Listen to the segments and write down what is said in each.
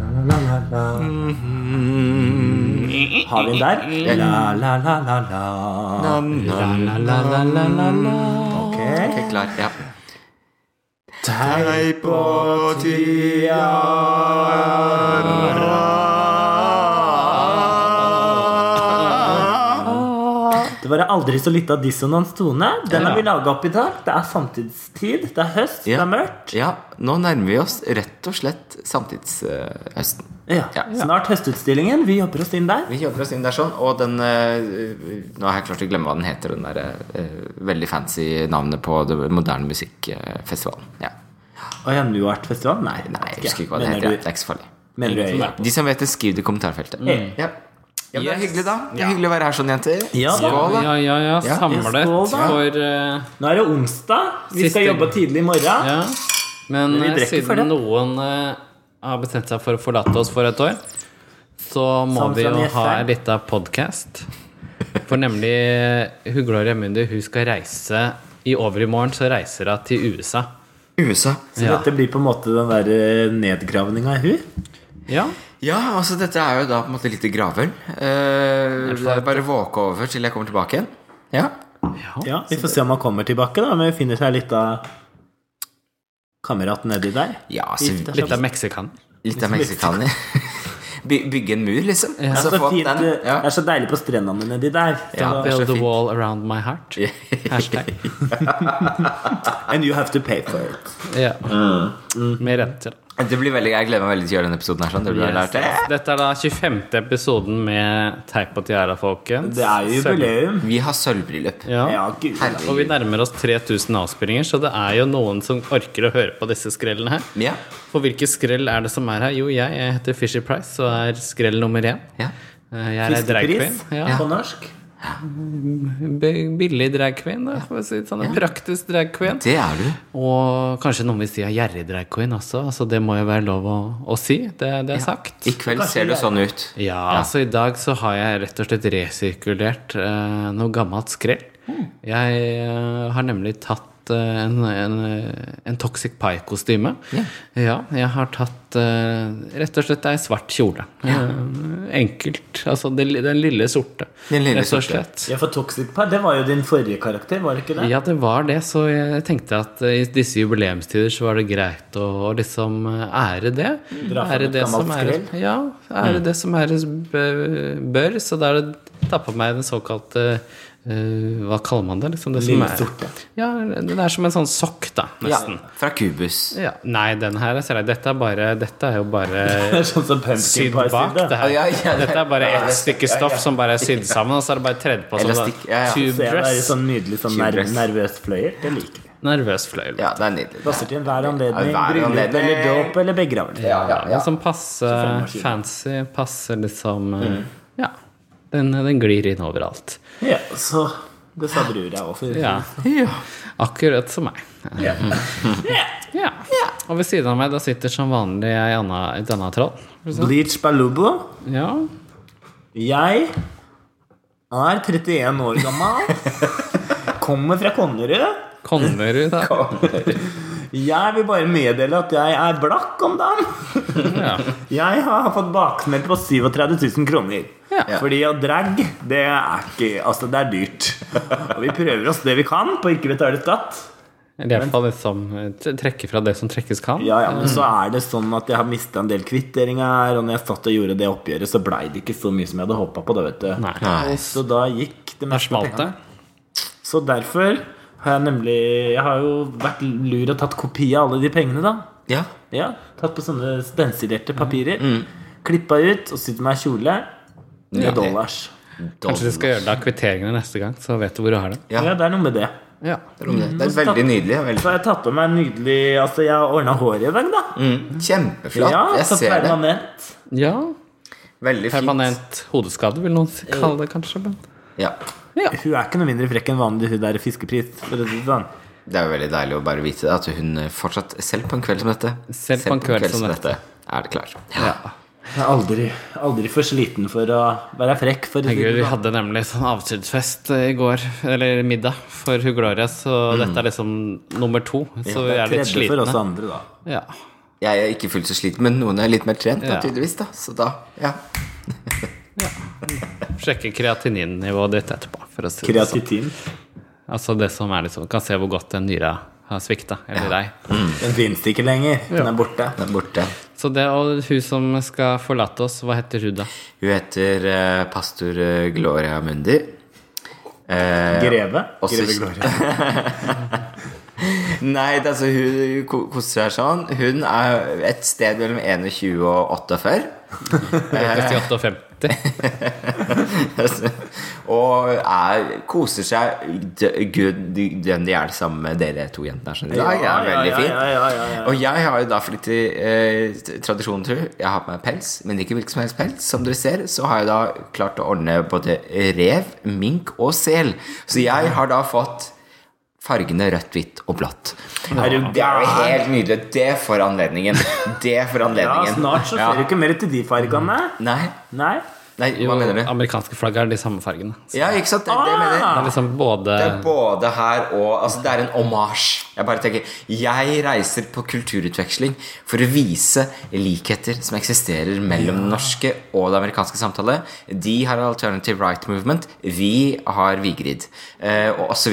la. Mm-hmm. Har vi en der? La, la, la, la, la. Ok. Ok, klar. Ja. Tei på tida Det var en aldri så lita dissonans tone. Den har vi laga opp i dag. Det er samtidstid. Det er høst. Det Ja. er mørkt. Ja, nå nærmer vi oss rett og slett samtidshøsten. Ja. Ja. Snart høstutstillingen. Vi jobber oss inn der. Vi jobber oss inn der sånn, og den eh, Nå har jeg klart å glemme hva den heter, den der eh, veldig fancy navnet på det moderne musikkfestivalen. Ja. Og ja, Nuartfestival? Nei, det Nei, vet jeg husker ikke hva det Mener heter. du- Det er ikke så farlig. Mener du Ikke jeg sånn De som vet det, skriv det i kommentarfeltet. Ja. Ja, men Det er Yes. hyggelig, da. Det er Ja. Hyggelig å være her sånn, jenter. Mm. Ja, da. Skål, da. Ja, ja, ja. Ja, Samlet skål, da. for eh, Nå er det onsdag. Vi Siste- skal jobbe tidlig i morgen. Ja. Men Men vi eh, drikker for det. siden noen eh, har bestemt seg for å forlate oss for et år, så må Samt vi som jo gjester. ha en liten podkast. For nemlig eh, hun Gloria Mundi, hun skal reise I overmorgen så reiser hun til USA. USA. Så Ja. dette blir på en måte den der nedgravninga i hu. Ja. Ja, altså dette er jo da på en måte lite gravøl. Eh, det er bare å våke over til jeg kommer tilbake igjen. Ja. Ja, vi får se om han kommer tilbake, da. Men vi finner seg litt av kamerat nedi der. ja altså, Litt av meksikaner. Litt av meksikaner. By, bygge en mur, liksom. Det er, Så så få Altså, opp fint, eh, den. det Ja. er så deilig på strendene nedi der. Så, Ja, det er så Build the fint. wall around my heart. Hashtag. And you have to pay for it. Ja. Med renter. Det blir veldig, jeg gleder meg veldig til å gjøre denne episoden her. Sånn. Det blir Yes, lært. yes. Dette er da 25. episoden med Teip og tiara, folkens. Det er jo Sølv- jubileum. Vi har sølvbryllup. Ja. Ja, gud. Herregud. Og vi nærmer oss 3000 avspillinger, så det er jo noen som orker å høre på disse skrellene her. Ja. For hvilke skrell er det som er her? Jo, jeg, jeg heter Fisher Price og er skrell nummer én. Ja. Eh, Jeg er ei drag queen. Fiskepris Ja. på norsk. B- Billig drag queen, da, for å si det sånn. En praktisk drag queen. Det er du. Og kanskje noen vil si ja, gjerrig drag queen også. Altså, det må jo være lov å, å si. Det, det er sagt. I kveld ser du sånn ut. Ja, altså i dag så har jeg rett og slett resirkulert eh, noe gammelt skrell. Mm. Jeg eh, har nemlig tatt eh, en, en, eh, en Toxic Pie-kostyme. Ja. jeg har tatt eh, rett og slett ei svart kjole. Eh, enkelt. Altså den, li- den lille sorte, Den lille rett og sorte. slett. Ja, for Toxic Par, det var jo din forrige karakter, var det ikke det? Ja, det var det, så jeg tenkte at eh, i disse jubileumstider så var det greit å, å liksom eh, ære det. Dra fram ære et det gammelt som ære, skrell. ja, ære det som æres b- bør, så da er det tappa meg den såkalte eh, Hva kaller man det? Liksom det som Lille er- sorte. Ja, det er som en sånn sokk, da, Ja. nesten. Fra Kubus. Ja. Nei, den her, ser jeg, dette er bare Dette er jo Det bare er sånn som Pumpkin sydd Pie bak, sier det det. her. Ja, ja, ja. Dette er bare ett stykke stoff som bare er sydd sammen, og så er det bare tredd på som sånn Elastikk, ja, ja. tube Så jeg er i dress. sånn nydelig sånn Tube nerv, dress. nervøs fløyer. Det liker vi. Nervøs fløyel. Ja, det er nydelig. Passer til enhver anledning. Ja, hver Bryllup anledning. eller dåp eller begravelse. Ja, ja, ja. Ja. Som passer maskin. fancy, passer liksom eh, Ja. Den, den glir inn overalt. Ja, så det sa brura òg, for Ja. Akkurat som meg. Ja. ja. Og ved siden av meg da sitter som vanlig ei anna, et annet troll. Bleach Balubo. Ja. Jeg er 31 år gammel. Kommer fra Konnerud. Konnerud, da. Jeg vil bare meddele at jeg er blakk om dagen. Ja. Jeg har fått baksmell på 37 000 kroner. Ja. Fordi å drag, det er ikke Altså, det er dyrt. Og vi prøver oss det vi kan på å ikke betale skatt. Eller i hvert fall liksom eh, tre- trekke fra det som trekkes kan. Ja, ja, men så Mm. er det sånn at jeg har mista en del kvitteringer, og når jeg satt og gjorde det oppgjøret, så blei det ikke så mye som jeg hadde håpa på, da, vet du. Nei. Nei. Så da gikk det Der meste av smalt det. pengene. Så derfor har jeg nemlig Jeg har jo vært lur og tatt kopi av alle de pengene, da. Ja. Ja, Tatt på sånne stensilerte Mm. papirer. Mm. Klippa ut og sydd meg kjole. Med Nydelig. dollars. Kanskje du skal gjøre deg kvitteringene neste gang, så vet du hvor du har det. Ja. Ja. det er noe med det. Ja. Mm. Det er veldig nydelig. Så Veldig. har jeg tatt på meg en nydelig Altså, jeg har ordna håret i dag, da. Mm. Kjempeflott. Ja, Jeg så ser det. permanent. ja. Veldig fint. Permanent hodeskade, vil noen kalle det, kanskje. Men. Ja. Ja. Hun er ikke noe mindre frekk enn vanlig, hun der fiskepris. For å si det sånn. Det er jo veldig deilig å bare vite at hun eh, fortsatt, selv på en kveld som dette Selv på en kveld som dette. er det klar. Ja. Jeg er aldri, aldri for sliten for å være frekk. For å si Herregud, det vi sånn. hadde nemlig sånn avskjedsfest eh, i går, eller middag, for Hu Gloria, så dette er liksom nummer to. Så Mm. vi Det er litt tredje for oss slitne. andre, da. Ja. Jeg er ikke fullt så sliten, men noen er litt mer trent, da, Ja. tydeligvis. da Så da, ja. Sjekke kreatininnivået ditt etterpå. For å si det sånn. Kreatitin. Altså det som er liksom Kan se hvor godt den nyra har svikta. Eller deg. Den fins ikke lenger. Den er borte. Den er borte. Så det og hun som skal forlate oss, hva heter hun da? Hun heter eh, pastor eh, Gloria Mundi. Eh, Greve. Og så- Greve Gloria. nei, det er altså hun hun ko- koser seg sånn. Hun er et sted mellom 21 og 48. Eh, 68 og 50? og er, koser seg dø- gud dønn i hjel sammen med dere to jentene her. skjønner du. Det er veldig fint. Ja, ja, ja, ja. Og jeg har jo da fordi til eh, t- tradisjonen tro Jeg har på meg pels, men ikke hvilken som helst pels. Som dere ser, så har jeg da klart å ordne både rev, mink og sel. Så jeg har da fått fargene rødt, hvitt og blått. Er du Det er jo gæren? helt nydelig. Det for anledningen. Det for Ja, anledningen. snart så Ja. ser du ikke mer til de fargene. Nei, Nei. nei, Jo, hva mener du? amerikanske flagg er de samme fargene. Så Ja, ikke sant? Det, det mener Ah. jeg. det er liksom både Det Eh. er både her og Altså, det er en omasj. Jeg bare tenker Jeg reiser på kulturutveksling for å vise likheter som eksisterer mellom den norske og det amerikanske samtale. De har Alternative Right Movement, vi har Vigrid, eh, og osv.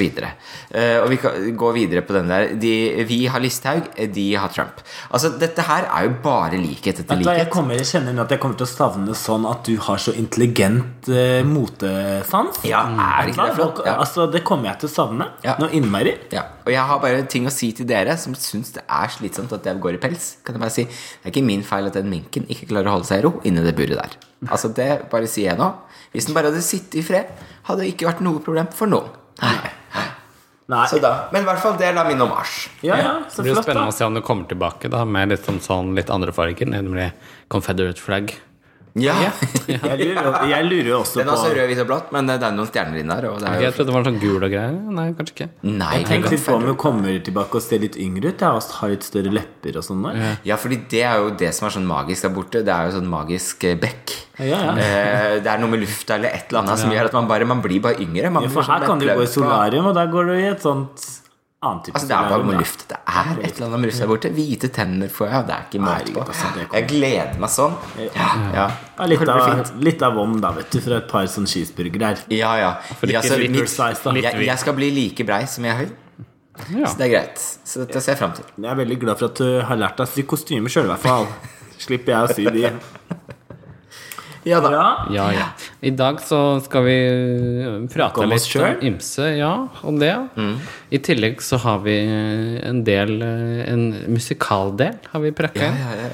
Eh, og vi kan gå videre på den der. De, vi har Listhaug, de har Trump. Altså, dette her er jo bare likhet etter Vet du hva, jeg, likhet. kommer, jeg kjenner nå at jeg kommer til å savne sånn at du har så intelligent eh, motesans. Ja, er ikke Vet det du hva, flott? folk- Ja. Altså, det kommer jeg til å savne Ja. noe innmari. Ja, og jeg har bare ting å si til dere som syns det er slitsomt at jeg går i pels. Kan jeg bare si Det er ikke min feil at den minken ikke klarer å holde seg i ro inni det buret der. Altså Det bare sier jeg nå. Hvis den bare hadde sittet i fred, hadde det ikke vært noe problem for noen. Nei. Så da, Men i hvert fall, det er da min omasj. Ja, ja, så Det blir jo flott, spennende da. å se om du kommer tilbake da med litt, sånn, sånn, litt andre farger, nemlig Confederate flagg. Ja. Jeg lurer, jeg lurer jo også Den på er også rød, hvit og blått, men det er noen stjerner inni der. Og det er Jeg jo... trodde det var sånn gul og greier. Nei, kanskje ikke. Nei, Tenk litt på om hun kommer tilbake og ser litt yngre ut. Jeg har også- har litt større lepper og sånn nå. Ja, fordi det er jo det som er sånn magisk der borte. Det er jo sånn magisk eh, bekk. Ja, ja. Eh, det er noe med lufta eller et eller annet som gjør at man bare man blir bare yngre. Man Ja, blir For sånn her kan du gå i lettløpt og- solarium, og der går du i et sånt annet type Altså, det er bare solarium, noe da. med luft. Det er et eller annet med luft der borte. Hvite tenner får jeg, og det er ikke måte Herregud, altså, det på. kommer. Jeg gleder meg sånn. Ja, ja. Ja, litt, Det blir fint. av, litt av vom, da, vet du, fra et par sånn cheeseburgere her. Ja, ja. ikke Ja, så litt mitt- size, da. jeg, jeg skal bli like brei som jeg er høy. Ja. Så det er greit. Så dette ser jeg fram til. Jeg er veldig glad for at du har lært deg å sy kostyme sjøl, i hvert fall. Slipper jeg å sy de. Ja da. Ja. Ja, ja. I dag så skal vi øh, prate om oss litt om selv? ymse, ja, om det. Mm. I tillegg så har vi øh, en del, øh, en musikaldel har vi prakka Ja, inn. ja, ja.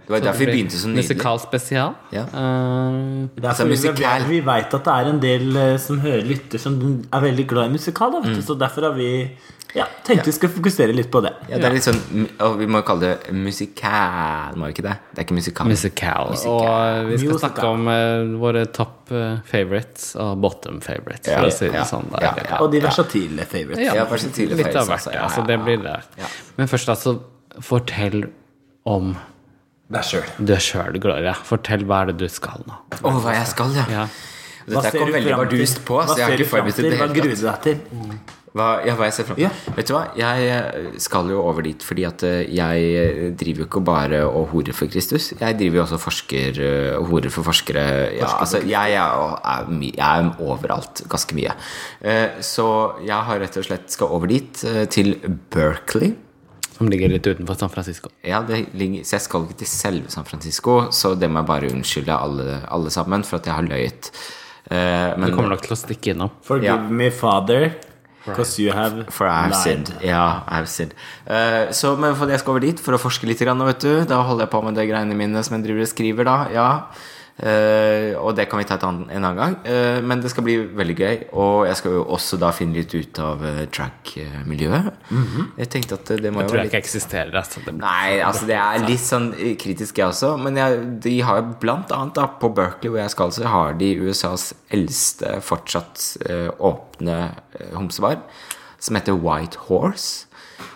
Det var derfor vi begynte så nydelig. Musikalspesial. Ja. Eh, Det er Altså, fordi musikal. vi, vi veit at det er en del eh, som hører lytter, som er veldig glad i musikal. Da, Mm. vet du. Så derfor har vi ja, tenkte vi skulle fokusere litt på det. Ja, det er litt sånn Og vi må jo kalle det musikal, må vi ikke det? Det er ikke musikal. Musical. Og vi skal Musical. snakke om eh, våre topp eh, favorites og bottom favorites, for Ja, å si det ja, sånn. ja, Der. ja. Og de versatile favorites. Ja, kanskje tidlig litt av favorites hvert. også, ja, Altså, ja, det ja. blir det. Ja. Men først, altså, fortell om Deg sjøl. deg sjøl, Gloria. Fortell hva er det du skal nå? Å, hva jeg skal, ja. Ja. Dette kom veldig bardust på, Hva så jeg har ser du ikke fram forberedt det i til? det Hva hele tatt. gruer du deg til? Hva, ja, hva jeg ser frem til. Ja. Vet du hva, jeg eh, skal jo over dit fordi at eh, jeg driver jo ikke bare og horer for Kristus. Jeg driver jo også forsker eh, og horer for forskere. Ja, altså, jeg, er, jo- er, my- jeg er overalt ganske mye. Eh, Så jeg har rett og slett skal over dit, eh, til Berkeley. Som ligger litt utenfor San Francisco. Ja, det ligger, så jeg skal ikke til selve San Francisco, så det må jeg bare unnskylde alle, alle sammen for at jeg har løyet. Eh, Du Men kommer nok til å stikke innom. Forgive Ja. me, father, because you have For I have lied. sinned. Ja, I have sinned. Eh, så men for jeg skal over dit for å forske litt, grann, vet du. Da holder jeg på med de greiene mine som jeg driver og skriver, da. Ja. Eh, og det kan vi ta et ann- en annen gang. Eh, men det skal bli veldig gøy. Og jeg skal jo også da finne litt ut av uh, track-miljøet. Jeg tenkte at eh, det må jo Tror være Mhm. jeg litt ikke eksisterer. Altså. Det blir Nei, altså det er litt sånn kritisk jeg også, men jeg, de har jo blant annet da, på Berkeley hvor jeg skal, så har de USAs eldste fortsatt eh, åpne eh, homsebar, som heter White Horse.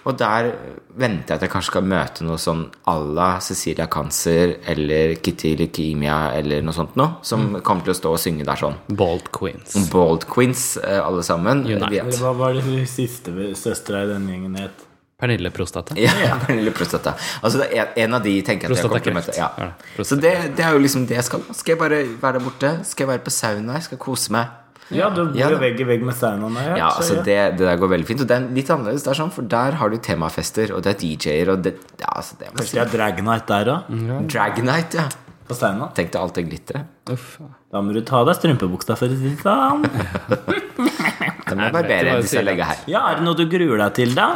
Og der venter jeg at jeg kanskje skal møte noe sånn à la Cecilia Cancer eller Kitty Leukemia eller noe sånt noe, som kommer til å stå og synge der sånn. Bald Queens. Bald Queens, eh, alle sammen. United. Vi- Eller Hva var det siste søstera i den gjengen het? Pernille Prostata. Ja, Pernille Prostata. Altså, det er en- en av de tenker jeg at jeg kommer til å Prostatakreft. møte. Ja. Ja, prostatakreft. Så det, det er jo liksom det jeg skal. Skal jeg bare være der borte? Skal jeg være på sauna? Jeg skal kose meg? Ja, du bor Ja, jo da. vegg i vegg med saunaen. har jeg hørt, Ja, så altså ja. det, det der går veldig fint. Og det er litt annerledes der, sånn, for der har du temafester, og det er DJ-er, og det ja, altså, det er Kanskje det er Drag Night der òg? Mm. Drag Night, ja. På sauna? Tenk deg alt det glitteret. Uff. Da må du ta av deg strømpebuksa, for å si det sånn. Det må jeg det barbere var jo hvis jeg sykt. legger her. Ja, er det noe du gruer deg til, da?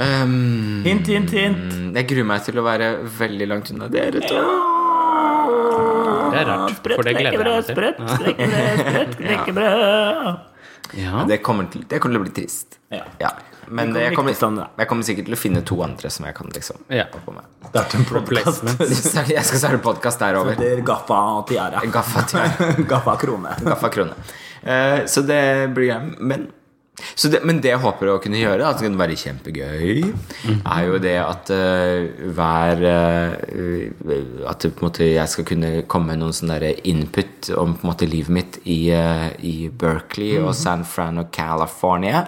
Um, Hint, hint, hint. jeg gruer meg til å være veldig langt unna dere to. Det er rart, for det gleder jeg meg til. Sprøtt, knekkebrød, sprøtt, knekkebrød. Ja. Det kommer til, det kommer til å bli trist. Ja. Ja. Men Det kommer jeg kommer, ikke sånn, da. jeg kommer sikkert til å finne to andre som jeg kan liksom Ja. hoppe med. Det er en podcast. Så Jeg skal starte podkast der over. Det er Gaffa og tiara. Gaffa, til- Gaffa krone. gaffa krone. Eh, så det blir jeg. Men, så det, men det jeg håper å kunne gjøre, at det kan være kjempegøy, er jo det at eh, hver eh, At det på en måte jeg skal kunne komme med noen sånne der input om på en måte livet mitt i, eh, i Berkeley og San Fran og California.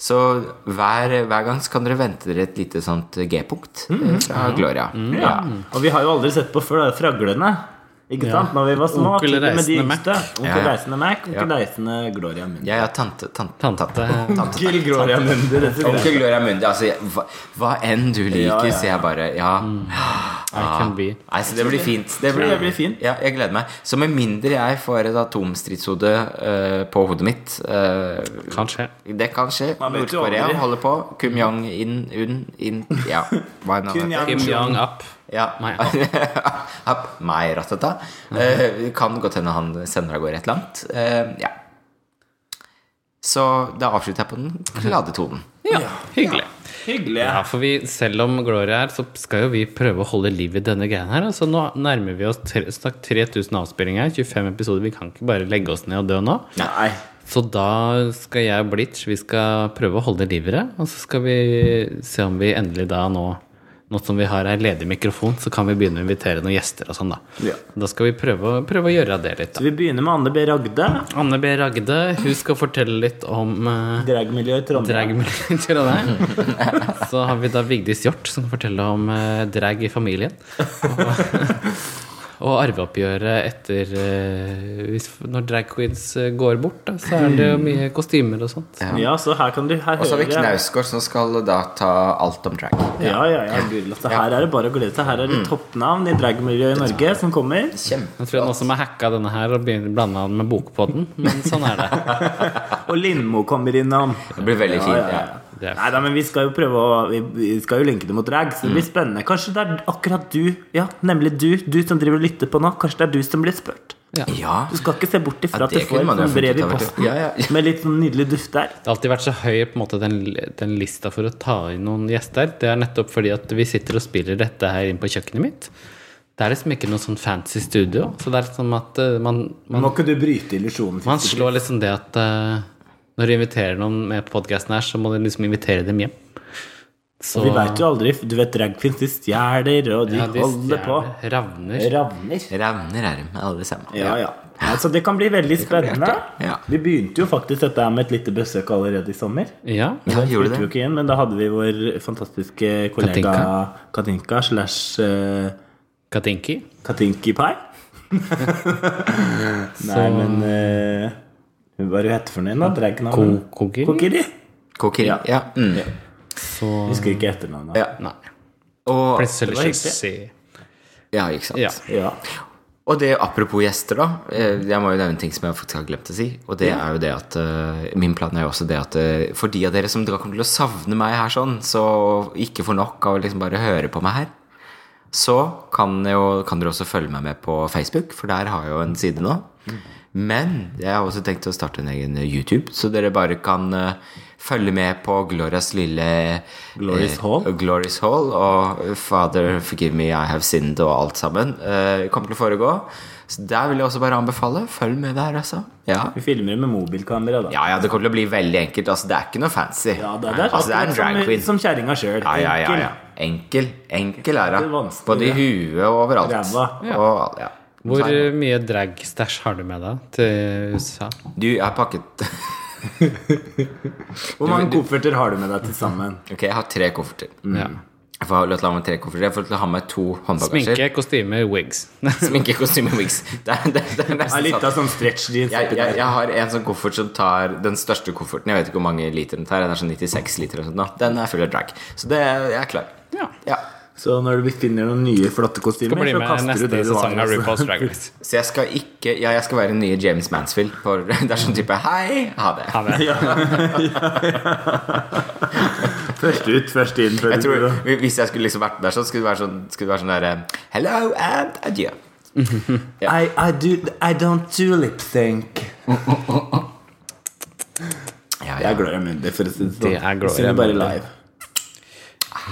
Så hver, hver gang så kan dere vente dere et lite sånt G-punkt eh, fra Gloria. Ja. Og vi har jo aldri sett på før, det er fraglene. Ikke sant? Når vi var små. Onkel til og med de Reisende Mac. yngste. Onkel Ja. Reisende Mac, onkel Reisende Gloria Mundi. Jeg er tante, tante, Tante. Onkel Gloria Mundi, dette er Onkel Gloria Mundi, altså jeg- hva, hva enn du liker, Ja, ja. sier jeg bare ja. I can be. Nei, så det blir fint. Det det blir fint. Ja, jeg gleder meg. Så med mindre jeg får et atomstridshode eh, på hodet mitt eh, Kan skje. Det kan skje. Man vet jo Nord-Korea aldri. det. holder på. Kim Jong-un un, in, Ja, hva enn han Kim heter. Jong- Kim Jong-up. Ja. Nei. App, Meg, ratata. Eh, kan godt hende han sender av gårde et eller annet. Eh, ja. Så da avslutter jeg på den glade tonen. Ja, hyggelig. Hyggelig. Ja, for vi, selv om Gloria er her, så skal jo vi prøve å holde liv i denne greia her. Altså, nå nærmer vi oss tre- snakk 3000 avspillinger, 25 episoder. Vi kan ikke bare legge oss ned og dø nå. Nei. Så da skal jeg og Blitz vi skal prøve å holde liv i det. Og så skal vi se om vi endelig da nå Nå som vi har ei ledig mikrofon, så kan vi begynne å invitere noen gjester og sånn, da. Ja. Da skal vi prøve, å- prøve å gjøre det litt, da. Så vi begynner med Anne B. Ragde. Anne B. Ragde, hun skal fortelle litt om uh, Dragmiljø i Trondheim. dragmiljøer og det. Så har vi da Vigdis Hjort som kan fortelle om eh, drag i familien. Og, og arveoppgjøret etter eh, hvis, Når drag queens eh, går bort, da, så er det jo mye kostymer og sånt. Ja, så her kan du her Og så har vi hører jeg- Knausgård, som skal da ta alt om drag. Ja, ja, ja, Mm. gud, altså, her er det bare å glede seg. Her er det toppnavn i dragmiljøet i Norge som kommer. Kjempe. Jeg tror det er noen som har hacka denne her og begynner å blande den med bokpodden, men sånn er det. Og Lindmo kommer innom. Det blir veldig fint. Ja, Det er- Nei da, men vi skal jo prøve å Vi, vi skal jo lenke det mot drag, så det Mm. blir spennende. Kanskje det er akkurat du, ja, nemlig du, du som driver og lytter på nå, kanskje det er du som blir spurt. ja. Du skal ikke se bort ifra Ja, at du det får kunne man et jo sånt brev i funnet ut av, vet du. posten Ja, ja, ja. med litt sånn nydelig duft der. Det har alltid vært så høy på en måte, den, den lista for å ta inn noen gjester. Det er nettopp fordi at vi sitter og spiller dette her inne på kjøkkenet mitt. Det er liksom ikke noe sånn fancy studio. Så det er liksom at eh, man, man, Må ikke du bryte illusjonen? man slår liksom det at eh, når du inviterer noen med på podkasten her, så må du liksom invitere dem hjem. Så Vi veit jo aldri. Du vet drag queens, de stjeler, og de, ja, de holder på. stjerner Ravner. Ravner. Ravner er det med alle sammen. Ja, ja. Altså, det kan bli veldig spennende. artig, ja. Vi begynte jo faktisk dette her med et lite besøk allerede i sommer. Ja. Ja, gjorde Fikk jo det. ikke inn, men da hadde vi vår fantastiske kollega Katinka slash eh, Katinki. Katinki Pai. Nei, men eh, Hva er det hun heter for noe? igjen da? Dragnavn? Ko- Kokiri? Kokiri? Kokeri. Ja. Ja. Mm. Så Husker ikke etternavnet. Ja. Nei. Og, Plutselig var hyggelig. Jussi. ja, ikke sant. Ja. Ja. Og det apropos gjester, da. eh, Jeg må jo nevne ting som jeg faktisk har glemt å si. Og det er jo det at eh, Min plan er jo også det at eh, for de av dere som dere kommer til å savne meg her sånn, så ikke får nok av å liksom bare høre på meg her, så kan, jo, kan dere også følge meg med på Facebook, for der har jeg jo en side nå. Men jeg har også tenkt å starte en egen YouTube, så dere bare kan eh, følge med på Glorias lille Glorious eh, Hall. Glorious Hall og Father forgive me, I have sinned og alt sammen eh, kommer til å foregå. Så der vil jeg også bare anbefale. Følg med der, altså. Ja. Vi filmer med mobilkamera, da. ja, ja, det kommer til å bli veldig enkelt. Altså, det er ikke noe fancy. Ja, det, det er, altså, det er en akkurat drag queen. Som, som kjerringa sjøl. Ja, ja, ja, ja. Enkel. Enkel er Det er det. vanskelig, Både i det. huet og overalt. Ræva. Og, ja. Sånn Hvor eh, mye dragstæsj har du med deg til USA? Du, jeg har pakket Hvor mange kofferter har du med deg til sammen? Ok, Jeg har tre kofferter. Mm. Ja. Jeg får ha lov til å ha med tre kofferter Jeg får lov til å ha med to håndbagasjer. Sminke, kostymer, wigs. Sminke, kostyme, wigs. Det er, det, det er Ja, nesten litt sånn. av sånn stretch jeans. Jeg, oppi jeg, der. jeg har en sånn koffert som tar den største kofferten. Jeg vet ikke hvor mange liter den tar. Den er sånn 96 liter eller sånt. nå. Den er full av drag. Så det, jeg er klar. Ja. Ja. Så når du finner noen nye flotte Skal kostymer, bli så med kaster du neste det du har. sesong av altså. RuPaul's Drag Race. Så jeg skal ikke Ja, jeg skal være den nye James Mansfield. For det er sånn type Hei, ha det. Ha det. Først ut, først inn. Før Jeg du tror, går. hvis jeg skulle liksom vært der sånn, skulle det være sånn, skulle det være sånn der eh, Hello and adieu. I, I, do, I don't do lip sync. Ja, Det er Gloria Mundi, for å si det sånn. Det er Gloria Synger bare Mundi. live.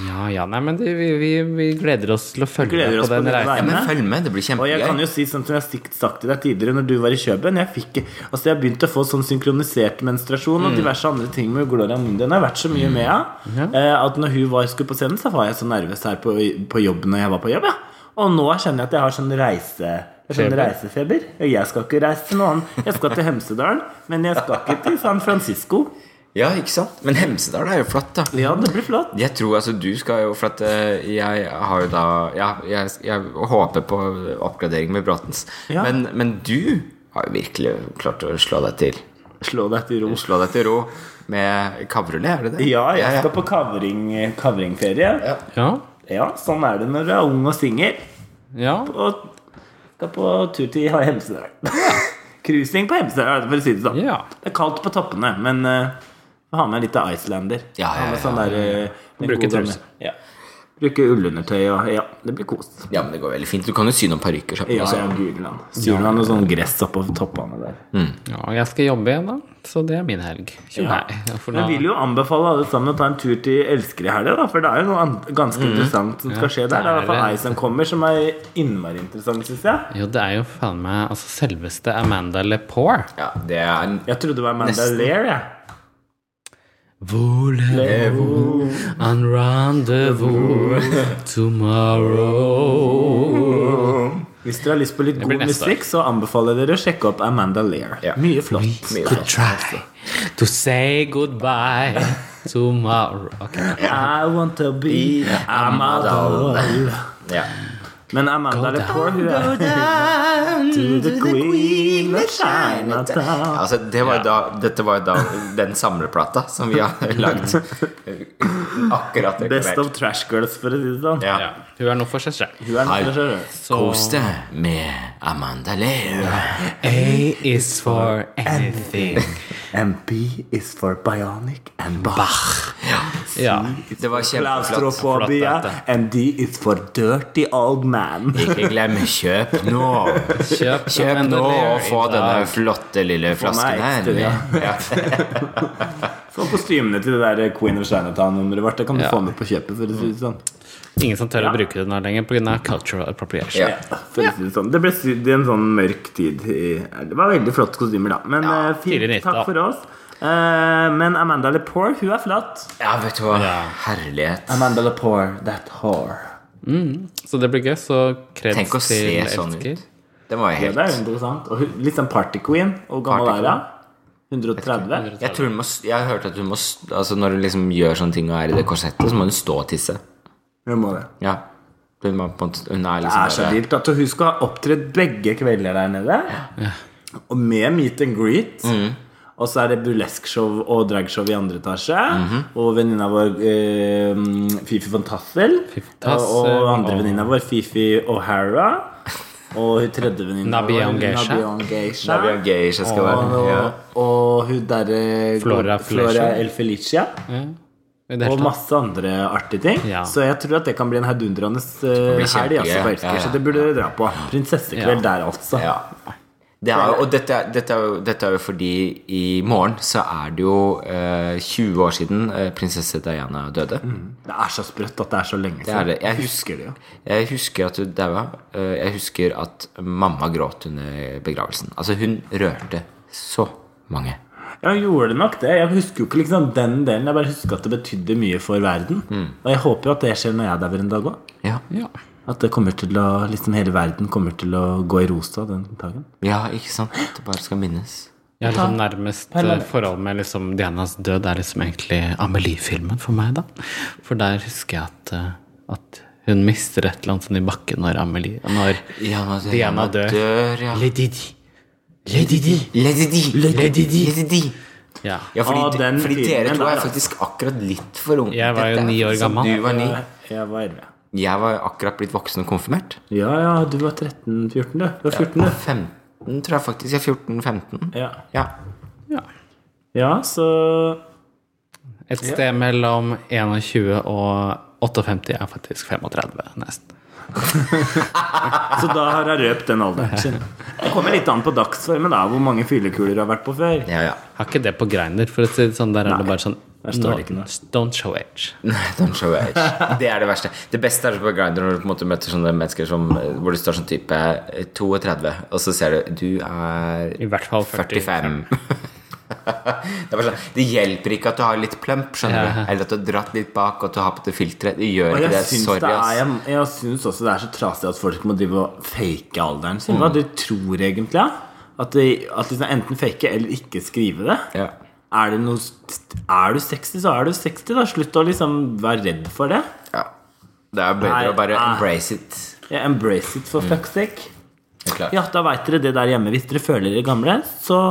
Ja, ja, nei, men det, vi, vi, vi gleder oss til å følge Gleder med oss på på den denne reisen. veien. Men følg med, det blir Og jeg kan kjempegøy. jo si sånn som jeg har sagt til deg tidligere Når du var i Kjøben Jeg fikk Altså jeg begynte å få sånn synkronisert menstruasjon Og diverse andre ting med Gloria Mundi Den har vært så mye med Mm. ja. eh, At når hun var, skulle på scenen Så var jeg så nervøs her på, på jobb Når jeg var på jobb ja. Og nå kjenner jeg at jeg har sånn reise Sånn Feber. reisefeber Jeg skal ikke reise til noen Jeg skal til Hemsedalen Men jeg skal ikke til San Francisco Ja, ikke sant? Men Hemsedal er jo flott, da. Ja, det blir flott Jeg tror altså du skal jo For at eh, jeg har jo da Ja, jeg, jeg håper på oppgradering med Bråtens. Ja. Men, men du har jo virkelig klart å slå deg til. Slå deg til ro Slå deg til ro med kavrullet, er det det? Ja, jeg skal på kavring, kavringferie Ja, Ja, sånn er det når du er ung og singer ja. og skal på tur til Hemsedal. Cruising på Hemsedal, for å si det sånn. Ja. Det er kaldt på toppene, men uh, ha med litt av Icelander. Ja, ja, Ha med ja. sånn der, eh, den Bruke gode gamle- truse. Ja. Bruke ullundertøy og Ja, det blir kos. Ja, men det går veldig fint. Du kan jo sy noen parykker. sammen Ja, også. ja, Gudland. Syr han noe sånn gress oppå toppene der. Mm. Ja, og jeg skal jobbe igjen, da. Så det er min helg. Ikke Ja. meg. For Jeg da, vil jo anbefale alle sammen å ta en tur til Elsker i helga, da, for det er jo noe an- ganske Mm. interessant som skal skje der. Det er i hvert fall ei som kommer, som er innmari interessant, syns jeg. jo, det er jo faen meg altså, selveste Amanda Lepore. Ja, det er en Jeg trodde det var Amanda Nesten. Lear, jeg. Voulez-vous un rendezvous tomorrow? Hvis dere har lyst på litt blir god neste musikk, så anbefaler dere å sjekke opp Amanda Lear. Ja. Mye flott. mye Could try to say goodbye tomorrow. Ok. I want to be Amanda Lear. Ja. Men Amanda Lepore, hun er To the queen of Chinatown. Altså, det var jo da, dette var jo da den samleplata som vi har lagd. Akkurat Best reklamert. of trash girls, for å si det sånn. Ja. Ja, hun er nå for seg selv. Hun er Hei. en treasure. Så Kos deg med Amanda Lear. A is for anything. And B is for bionic and Bach. Ja. Det var kjempeflott. Klaustrofobia. Flott, dette. And D is for dirty old man. Ikke glem kjøp nå. Kjøp, Kjøp Amanda nå Lear og få i dag. denne flotte lille meg flasken her. Ja. Så kostymene til det der Queen of Chinatown-nummeret vårt, det kan du Ja. få med på kjøpet. for å si det sånn. Ingen som tør å bruke den her lenger pga. cultural appropriation. Ja. Ja, for å si det sånn. Det ble sydd i en sånn mørk tid. i- Det var veldig flotte kostymer, da. Men eh, fint. tidlig nitt, da. Takk for oss. Eh, men Amanda Lepore, hun er flat. ja, vet du hva. Ja. Herlighet. Amanda Lepore, that whore. Så det blir gøy. Så kreds Tenk å se til sånn ut. elsker. Det var Ja, jo det er helt jo interessant. Og hun, litt sånn party queen. Og gammel Party er hun? 130? jeg, tror hun må, s- jeg har hørt at hun må s- altså Når hun liksom gjør sånne ting og er i det korsettet, så må hun stå og tisse. Hun må det. Ja. Hun, må, på en måte- hun er Det er liksom så bare- vilt at hun skal ha opptredd begge kvelder der nede. Og med meet and greet. Mm. Og så er det burlesque-show og dragshow i andre etasje. Mhm. Og venninna vår eh, Fifi von Tassel. Fifi Tassel, og, og andre og- venninna vår Fifi O'Hara. Og hun tredje venninna vår Nabion Geisha. Nabion Da blir Geisha. hun gay, så jeg Og, skal være ja. og hun derre Flora Flora Felicia. El Felicia. I det Og hele tatt. masse andre artige ting. Ja. Så jeg tror at det kan bli en heidundrende eh, bli helg. Altså, kjempegøy. på Elsker, Ja, ja, Så det burde dere dra på. Prinsessekveld der, altså. Ja. Det er, jo- og dette, er- dette, er jo, dette er jo fordi i morgen så er det jo eh, 20 år siden eh, prinsesse Diana døde. Det er så sprøtt at det er så lenge Det er siden. det. Jeg husker det jo. Jeg husker at hun daua. Eh, Jeg husker at mamma gråt under begravelsen. Altså, hun rørte så mange. Jeg gjorde det nok det. Jeg husker jo ikke liksom den delen. Jeg bare husker at det betydde mye for verden. Mm. Og jeg håper jo at det skjer når jeg dauer en dag òg. Ja, Ja. At det kommer til å, liksom hele verden kommer til å gå i rosa den dagen. ja ikke sant? Det bare skal minnes. Jeg har liksom nærmest eh, forhold med liksom Dianas død er liksom egentlig Amelie-filmen for meg, da. For der husker jeg at, eh, at hun mister et eller annet sånn i bakken når Amelie Når Ja, men det- Diana dør. ja. Lady Di. Lady Di. Lady Di. Lady Di. Lady Di. Ja. Ja, fordi, Ah, den fordi dere filmen to der, er altså. faktisk akkurat litt for unge. Jeg var jo Dette er ni år faktisk som gammel. Du var ni. Jeg var 11. Jeg var akkurat blitt voksen og konfirmert. Ja, ja, du var 13-14, du. Du var 14, du. 15, tror jeg faktisk. Jeg er 14-15. Ja. Ja. ja, så Et sted mellom 21 og 58 er faktisk 35, nesten. Så da har jeg røpt den alderen sin. Det kommer litt an på dagsformen, da, hvor mange fyllekuler du har vært på før. ja, ja. Har ikke det på Grindr, for å si det sånn. Der er det bare sånn der står det ikke no, noe. Don't show age. Nei, don't show age. Det er det verste. Det beste er på Grindr når du på en måte møter sånne mennesker som, hvor det står sånn type 32, og så ser du du er I hvert fall 40. 45. Det, er bare sånn, det hjelper ikke at du har litt plump, skjønner du. Eller at du har dratt litt bak og at du har på det filteret. Det gjør Og ikke jeg det. syns, Sorry, det er, ass. jeg, jeg syns også det er så trasig at folk må drive og fake alderen sin. Hva Mm. de tror egentlig? ja? At de, at de enten fake eller ikke skrive det? Ja. Er, det noe, er du 60, så er du 60. da Slutt å liksom være redd for det. Ja. Det er bedre Nei, å bare nei. embrace it. Ja, embrace it, for Mm. fuck's sake. Det er klart. Ja, da veit dere det der hjemme. Hvis dere føler dere gamle, så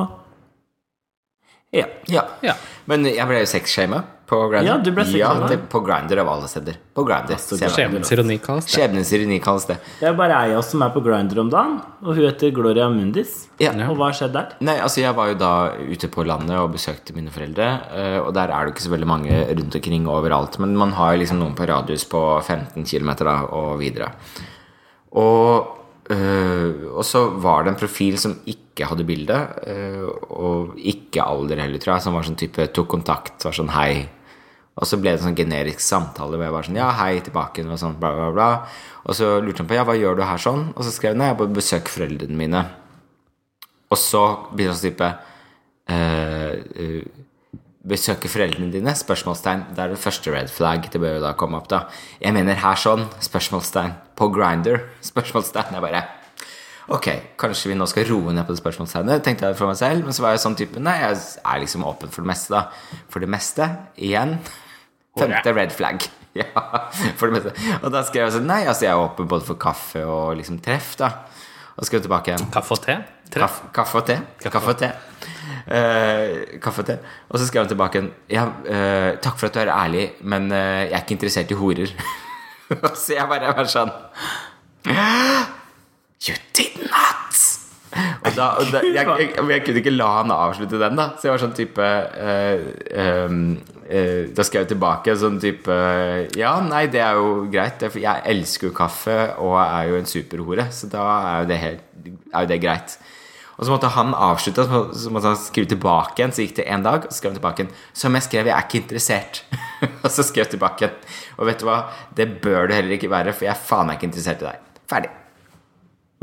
Ja. Ja. Ja. Men jeg ble jo sexshama på Grindr. Ja, du ble sexshamed. det- på Grindr av alle steder. På Grindr. Ser meg. Skjebnens ironi kalles det. Skjebnens ironi kalles det. Det er bare ei av oss som er på Grinder om dagen, og hun heter Gloria Mundis. Ja. Og hva har skjedd der? Nei, altså Jeg var jo da ute på landet og besøkte mine foreldre. eh, Og der er det jo ikke så veldig mange rundt omkring overalt. Men man har jo liksom noen på radius på 15 km og videre. Og, eh, og så var det en profil som ikke hadde bilde, eh, og ikke alder heller, tror jeg, som var sånn type tok kontakt, var sånn hei. Og så ble det en sånn generisk samtale hvor jeg var sånn ja, hei tilbake, og sånn bla, bla, bla. Og så lurte han på ja, hva gjør du her sånn? Og så skrev han nei, jeg er på besøk foreldrene mine. Og så begynner han å type eh, eh, Besøke foreldrene dine? Spørsmålstegn. Det er det første red flag. Det bør jo da komme opp, da. Jeg mener her sånn. Spørsmålstegn. På Grinder. Spørsmålstegn. Jeg bare Ok, kanskje vi nå skal roe ned på det spørsmålstegnet, tenkte jeg for meg selv. Men så var jeg sånn type Nei, jeg er liksom åpen for det meste, da. For det meste. Igjen. Femte red flag. Ja, for det meste. Og da skrev jeg sånn Nei, altså, jeg er åpen både for kaffe og liksom treff, da. Og skrev tilbake igjen. Kaffe og te? Tre? Kaff, kaffe og te. Kaffe og te. Eh, kaffe og te. Og så skrev han tilbake en ja, eh, 'Takk for at du er ærlig, men eh, jeg er ikke interessert i horer'. så jeg bare var sånn You did not! Og da, og da, jeg, jeg, jeg kunne ikke la han avslutte den, da. Så jeg var sånn type eh, ehm, eh, Da skrev jeg tilbake sånn type Ja, nei, det er jo greit. det er for- Jeg elsker jo kaffe og er jo en superhore, så da er jo det, helt, er jo det greit. Og så måtte han avslutte, så må- så måtte han skrive tilbake igjen. Så gikk det en dag, og så skrev han tilbake igjen. Som jeg skrev, jeg er ikke interessert. og så skrev jeg tilbake igjen. Og vet du hva, det bør du heller ikke være, for jeg faen er ikke interessert i deg. Ferdig.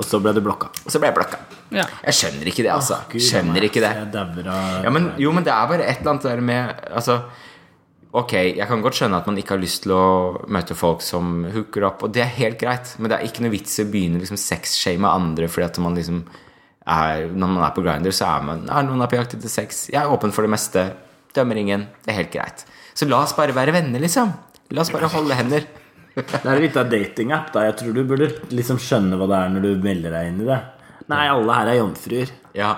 Og så ble det blokka. Og så ble jeg blokka. Ja. Jeg skjønner ikke det, altså. skjønner ikke det. Jeg dauer av Ja, men, jo, men det er bare et eller annet der med Altså, ok, jeg kan godt skjønne at man ikke har lyst til å møte folk som hooker opp, og det er helt greit, men det er ikke noe vits i å begynne liksom sexshame andre fordi at man liksom er, Når man er på Grindr, så er man er noen er på jakt etter sex. Jeg er åpen for det meste. Dømmer ingen. Det er helt greit. Så la oss bare være venner, liksom. La oss bare holde hender. Det er litt av datingapp, da. Jeg tror du burde liksom skjønne hva det er når du melder deg inn i det. Nei, alle her er jomfruer. Ja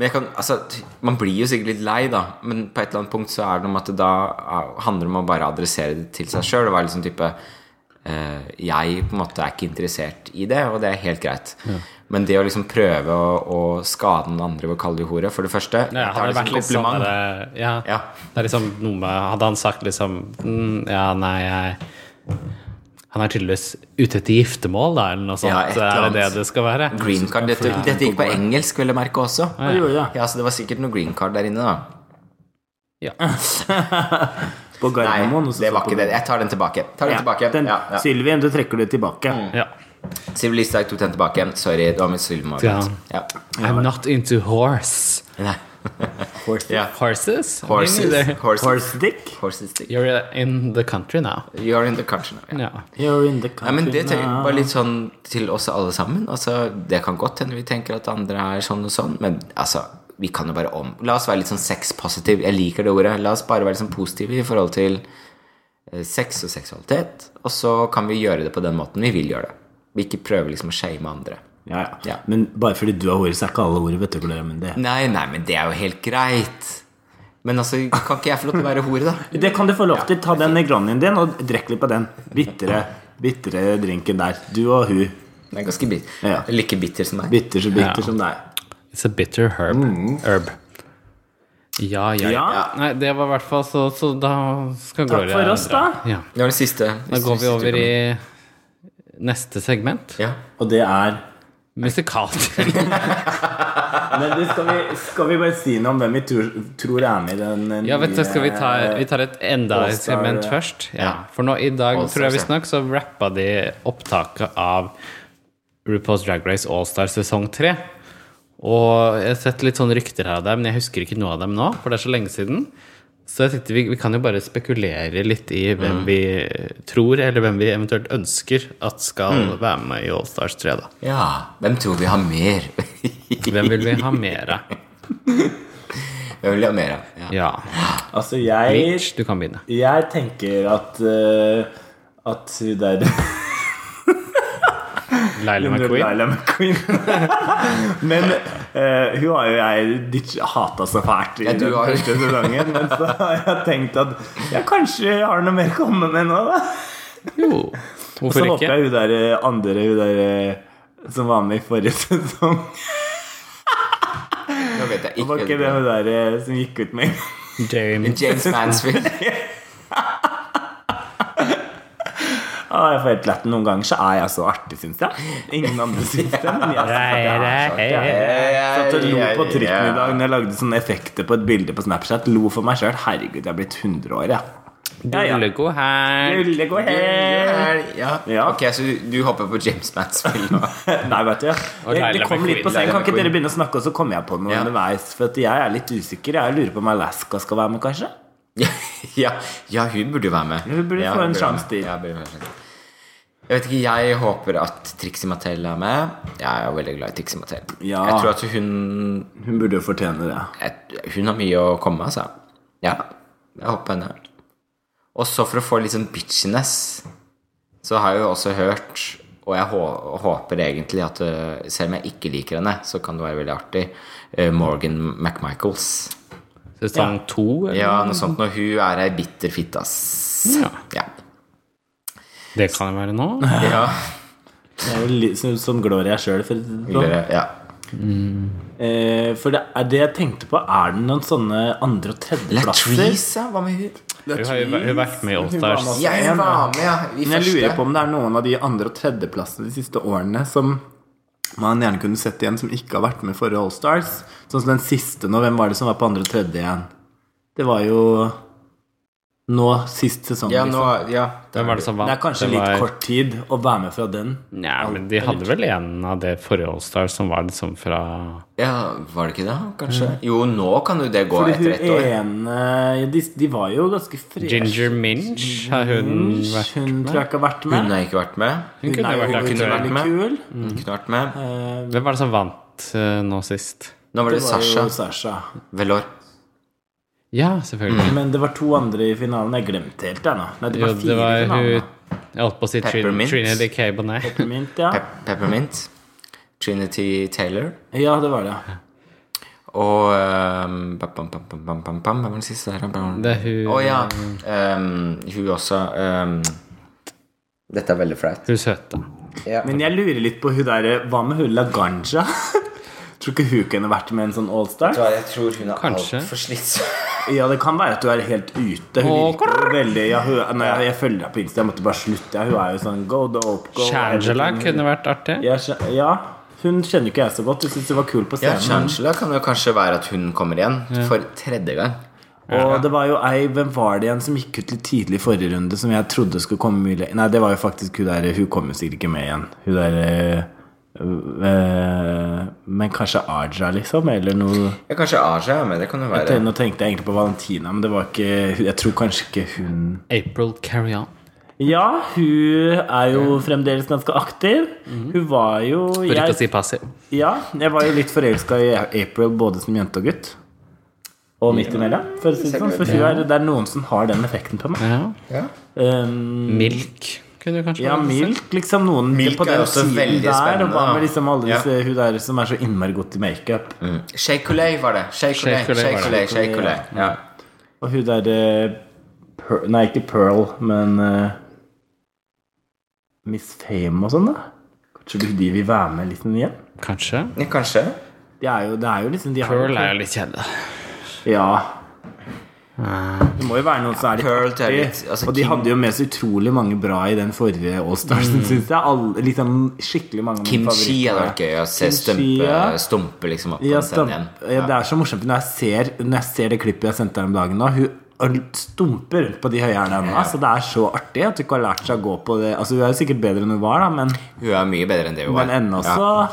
men jeg kan, altså, t- Man blir jo sikkert litt lei, da, men på et eller annet punkt så er det om at det da er- handler om å bare adressere det til seg sjøl. Og være liksom type eh, Jeg på en måte er ikke interessert i det, og det er helt greit. Men det å liksom prøve å, å skade noen andre ved å kalle de hore, for det første Ja, jeg tar hadde det det som vært litt sånn kompliment. der, ja, Ja. Det er liksom noe med Hadde han sagt liksom mm, Ja, nei, jeg Han er tydeligvis ute etter giftermål, da, eller noe sånt. Ja, et eller er det det annet. det skal være? Green card, dette, dette gikk på engelsk, vil jeg merke også. Hva gjorde jeg? Ja, så det var sikkert noe green card der inne, da. Ja. På Gardermoen? Nei, og så det var så på- ikke det. Jeg tar den tilbake. Tar den Ja, tilbake. den- Ja, Mm. ja. Sylvien, du trekker det tilbake. ja. Sylvi Listhaug tok den tilbake. Sorry, det var mitt sylmoment. Ja. Ja. I'm not into horse. Nei. Horse, Ja. Horses? Me Horses. neither. Horses. horse dick? Horses dick. You're in the country now. You're in the country now. Ja. Ja. You're in the Nei, men det tenker jeg now. bare litt sånn til oss alle sammen. Altså, det kan godt hende vi tenker at andre er sånn og sånn, men altså Vi kan jo bare om La oss være litt sånn sexpositiv. Jeg liker det ordet. La oss bare være litt sånn positive i forhold til eh, sex og seksualitet. Og så kan vi gjøre det på den måten vi vil gjøre det. Vi ikke prøver liksom å shame andre. Ja, ja. Ja. Men bare fordi du har hår, så er ikke alle hår, vet du, Gloria. Men det. Nei, nei, men det er jo helt greit. Men altså, kan ikke jeg få lov til å være hore, da? det kan du få lov til. Ta den Negronien din og drikk litt på den. Bitre, bitre drinken der. Du og hun. Den er ganske bitter. Ja. Like bitter som deg. Bitter så bitter som deg. It's a bitter herb. Mm. herb. Ja, ja, ja. Ja. Nei, det var i hvert fall så, så da skal Takk Gloria for oss, dra. da. Ja. Det var det siste. Da går vi over i neste segment. Ja. Og det er Musikalt. Men du, skal, vi, skal vi bare si noe om hvem vi tror, tror er med i den eh, Ja, vet du, nye- skal vi ta Vi tar et enda et All-star, segment ja. først. Ja. For nå i dag, All-stars, tror jeg ja. visstnok, så rappa de opptaket av RuPaul's Drag Race All-Star sesong 3. Og jeg har sett litt sånne rykter her av dem, men jeg husker ikke noe av dem nå, for det er så lenge siden. Så jeg tenkte vi, vi kan jo bare spekulere litt i hvem Mm. vi tror, eller hvem vi eventuelt ønsker at skal Mm. være med i All-Stars 3, da. ja. Hvem tror vi har mer? Hvem vil vi ha mer av? Hvem vil vi ha mer av? Ja. Ja. Altså, jeg, Mitch, du kan begynne. jeg tenker at eh, At hun der Laila McQueen. Laila McQueen. men eh, hun har jo jeg ditch- hata så fælt i Ja, du den har- første sesongen. Men så har jeg tenkt at jeg kanskje har noe mer å komme med nå, da. Jo, Så hvorfor håper ikke? jeg hun der eh, andre hun der eh, som var med i forrige sesong Nå vet jeg Var ikke det ikke. hun der eh, som gikk ut med James James Mansfield. ah, Jeg får helt lett Noen ganger så er jeg så artig, syns jeg. Ingen andre syns det, men jeg syns at jeg er så artig. Jeg satt og lo på trykken i dag når jeg lagde sånne effekter på et bilde på Snapchat. Lo for meg sjøl. Herregud, jeg er blitt 100 år, jeg. Ja, ja. Ullegod her. Ulle gå hen. Ja. Ja. Ok, så du, du hopper på James Mansfield nå? Nei, vet du. Det, Laila det kom litt på McQueen, sengen. Laila Kan ikke dere McQueen. begynne å snakke, og så kommer jeg på noe Ja. underveis? For at jeg er litt usikker. Jeg lurer på om Alaska skal være med, kanskje? Ja, ja, ja, hun burde jo være med. Hun burde ja, få en være med. sjanse til. Ja, hun burde få en sjanse. Jeg vet ikke, jeg håper at Trixie Mattel er med. Jeg er jo veldig glad i Trixie Mattel. Ja. Jeg tror at hun Hun burde jo fortjene det. jeg, Hun har mye å komme med, altså. Ja, jeg håper henne. Og så for å få litt sånn bitchiness, så har jeg jo også hørt og jeg hå- håper egentlig at øh, selv om jeg ikke liker henne, så kan det være veldig artig. øh, Morgan McMichaels. Sesong to? eller? Ja, noe sånt. Når hun er ei bitter fitte, ass. Ja. Ja. Det kan det være nå. ja. Det er jo litt som, som Gloria sjøl. For, Eller, ja. sånn. eh, for det, er det jeg tenkte på, er det noen sånne andre- og tredjeplasser? Latrice, ja. Hva med hun? Hun har jo væ- hun har vært med i Hun var med Allstars. også. Ja, hun var med, ja. I Men jeg første. lurer på om det er noen av de andre- og tredjeplassene de siste årene som man gjerne kunne sett igjen, som ikke har vært med i forrige Allstars. Sånn som den siste nå. Hvem var det som var på andre og tredje igjen? Det var jo nå, sist sesong. Ja, liksom. nå, ja. Hvem var det som vant? Det er kanskje var... litt kort tid å være med fra den. Nja, men de hadde vel en av det forrige Allstars som var liksom fra ja, var det ikke det, kanskje? Jo, nå kan jo det gå Fordi hun etter ett år. ene de, de var jo ganske freshe. Ginger Minch? Har hun vært Hun tror jeg ikke har vært Hun med. har ikke vært med. Hun kunne er jo vært kunne aktuell. vært veldig kul. Hun Mm. kunne vært med. Hvem var det som vant eh, nå sist? Nå var det, Det var Sasha jo Sasha. Velår. Ja, selvfølgelig. Men det var to andre i finalen. Jeg glemte helt, jeg nå. Nei, det Jo, var det fire var i hun finalen. Jeg holdt på å si Trin- Peppermint. Trinity K. Bonnet. da. Mint, ja. Pep Peppermint. Trinity Taylor. ja, det var det. Og ehm, bam, bam, bam, bam, bam, bam, bam, Hvem var den siste? der? Bam. Det er hun- Å ja. ehm, hun også. ehm, dette er veldig flaut. Hun søte. Ja. Men jeg lurer litt på hun der Hva med hun Laganja? Tror ikke hun kunne vært med i en sånn Allstar? Ja, Jeg tror hun er Kanskje. altfor slitsom. Ja, det kan være at hun er helt ute. Hun Åh, virker jo veldig ja, hun, Når jeg, jeg følger deg på Insta, jeg måtte bare slutte. Ja, Hun er jo sånn go dope, go Shangela everything. kunne vært artig. Ja, Sha- ja, hun kjenner ikke jeg så godt. Hun syntes hun var kul på Ja, scenen. Chancellor kan jo kanskje være at hun kommer igjen for tredje gang. og det var jo ei Hvem var det igjen som gikk ut litt tidlig i forrige runde, som jeg trodde skulle komme mye le- Nei, det var jo faktisk hun der Hun kommer sikkert ikke med igjen. Hun der øh, øh, Men kanskje Aja, liksom? Eller noe Ja, kanskje Aja er med. Det kan jo være. Nå tenkte jeg egentlig på Valentina, men det var ikke Jeg tror kanskje ikke hun April Carrion. Ja, hun er jo fremdeles ganske aktiv. Hun var jo Mhm. For ikke å jeg, si passiv. ja, jeg var jo litt forelska i April både som jente og gutt. Og midt imellom. For, å si det sånn, for hun er, det er noen som har den effekten på meg. Ja. Ja. Um, Milk kunne du kanskje ja, vært. Milk, liksom. Noen Milk på er den også siden veldig der. Og spennende, hva da. med liksom alle Ja. disse hun der som er så innmari godt i makeup? Shake Colay var det. Shake Colay, Shea Coulee Shea var det. Coulee, Shea Coulee. Ja. Og hun der eh, per, Nei, ikke Pearl, men eh, Miss Fame og sånn, da. Kanskje du- de vil være med liksom igjen? Kanskje. Ja, Kanskje. De er jo, det er jo liksom de har- Pearl er jo litt kjedelig. Ja. Det må jo være noen som er litt Pearl, det er artig. litt- altså, og de King- hadde jo med så utrolig mange bra i den forrige Allstarsen, mm. syns jeg. Alle, liksom, skikkelig mange av mine Kim Chi favoritter. hadde vært gøy å se Kim Chi, stumpe, ja. stumpe liksom opp på Ja, en scene stem- igjen. ja, det er så morsomt for når jeg ser, når jeg ser det klippet jeg sendte her om dagen nå. Hun og stumper rundt på de høye hælene hennes. Så det er så artig at hun ikke har lært seg å gå på det. Altså Hun er jo sikkert bedre enn hun var, da, men, Hun er mye bedre enn det hun var. men ennå så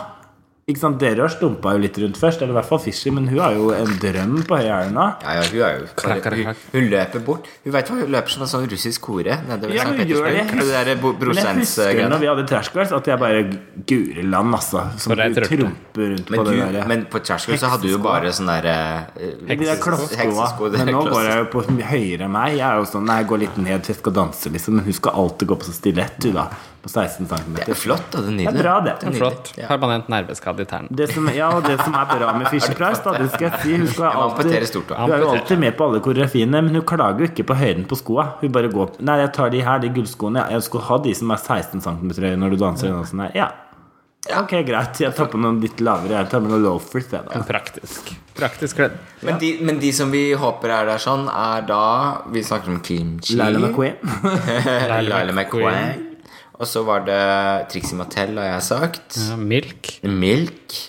Ikke sant, Dere har stumpa jo litt rundt først, eller i hvert fall Fishy, men hun har jo en drøm på høye hælene. Ja, ja, hun er jo Krakk, krakk, hun, krakk. hun løper bort. Hun vet hva, hun løper som en sånn russisk hore nede ved Ja, St. hun gjør det. Petersburg. Det derre bo- Men jeg husker brosents-greiene. når vi hadde Trashgirls, at jeg bare Guri land, altså. Som For deg du trøtte. trumper rundt Men, på det du, der. men på Trashgirl så hadde du jo Heksesko. bare sånn derre eh, de der klosskoa. heksesko, det Men er nå går kloss- jeg jo på høyere enn meg. Jeg er jo sånn Nei, jeg går litt ned, for jeg skal danse, liksom. Men hun skal alltid gå på så stilett, du, da. På 16 cm. Det er flott, da. Det er Det nydelig. er bra, det. nydelig. Flott. Ja. Permanent nerveskade i tærne. Det som, ja, og det som er bra med Fisher Price, da, det skal jeg si Hun, skal Jeg må amputere alltid, stort, da. hun er jo alltid med på alle koreografiene, men hun klager jo ikke på høyden på skoa. Hun bare går opp Nei, jeg tar de her, de gullskoene. Jeg skulle ha de som er 16 cm høye når du danser. Og sånn her. Ja. Ok, greit. Jeg tar på noen litt lavere. Jeg tar med noen loafers, jeg, da. Praktisk. Praktisk kledd. Men, de, men de som vi håper er der sånn, er da Vi snakker om Kim Chi. Lila McQueen. Eh, Lila McQueen. Og så var det Trixie Mattel, har jeg sagt. Ja, milk. Milk.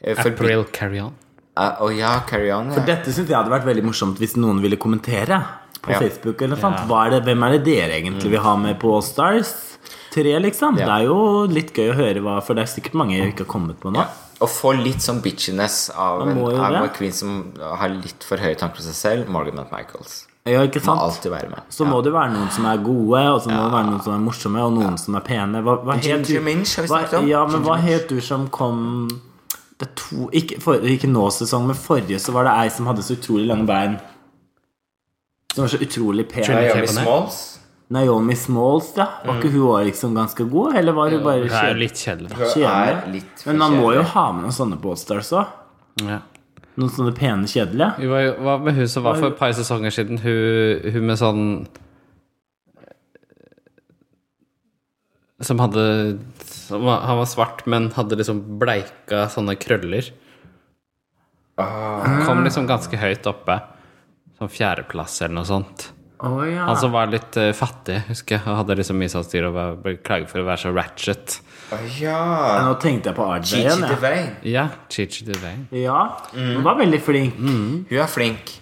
Eh, For, April carry on. Eh, Å ja, Carry On. Ja. Dette syns jeg hadde vært veldig morsomt hvis noen ville kommentere på Ja. Facebook. eller noe sånt. Hva er det, Hvem er det dere egentlig vil ha med på All Stars 3, liksom? Det er jo litt gøy å høre hva, for det er sikkert mange jeg ikke har kommet på nå. Ja. Å få litt sånn bitchiness av Man en, må jo av det. en queen som har litt for høye tanker om seg selv. Morgan McMichaels. Ja, ikke Må sant? alltid være med. Så må det være noen som er gode, og så må det være noen som er morsomme, og noen som er pene. Hva, hva het Ginger du- Minch har vi hva- snakket om. Ja, men Ginger hva Minch. het du som kom det er to, ikke, for, ikke nå sesong, men forrige så var det ei som hadde så utrolig lange bein. Som var så utrolig pen. Trinity Naomi Kjempe ned. Smalls. Naomi Smalls, ja. Var ikke hun også liksom ganske god, eller var hun bare Det er jo kjedelig? litt kjedelig, da. Hun er Kjedelig. litt for Men man må jo kjedelig. ha med noen sånne på Allstars òg. Ja. Noen sånne pene, kjedelige. Vi var jo, hva med hun som var for et par sesonger siden? Hun, hun med sånn Som hadde som var, Han var svart, men hadde liksom bleika sånne krøller. Kom liksom ganske høyt oppe. Sånn fjerdeplass eller noe sånt. Oh, ja. Han som var litt eh, fattig, husker jeg. Og hadde liksom mye sånn styr og var- ble klaget for å være så ratchet. Å ja. Nå tenkte jeg på RJ Gigi igjen. jeg. Devane. Ja, Chichi Devane. Ja. Hun var veldig flink. Hun er flink.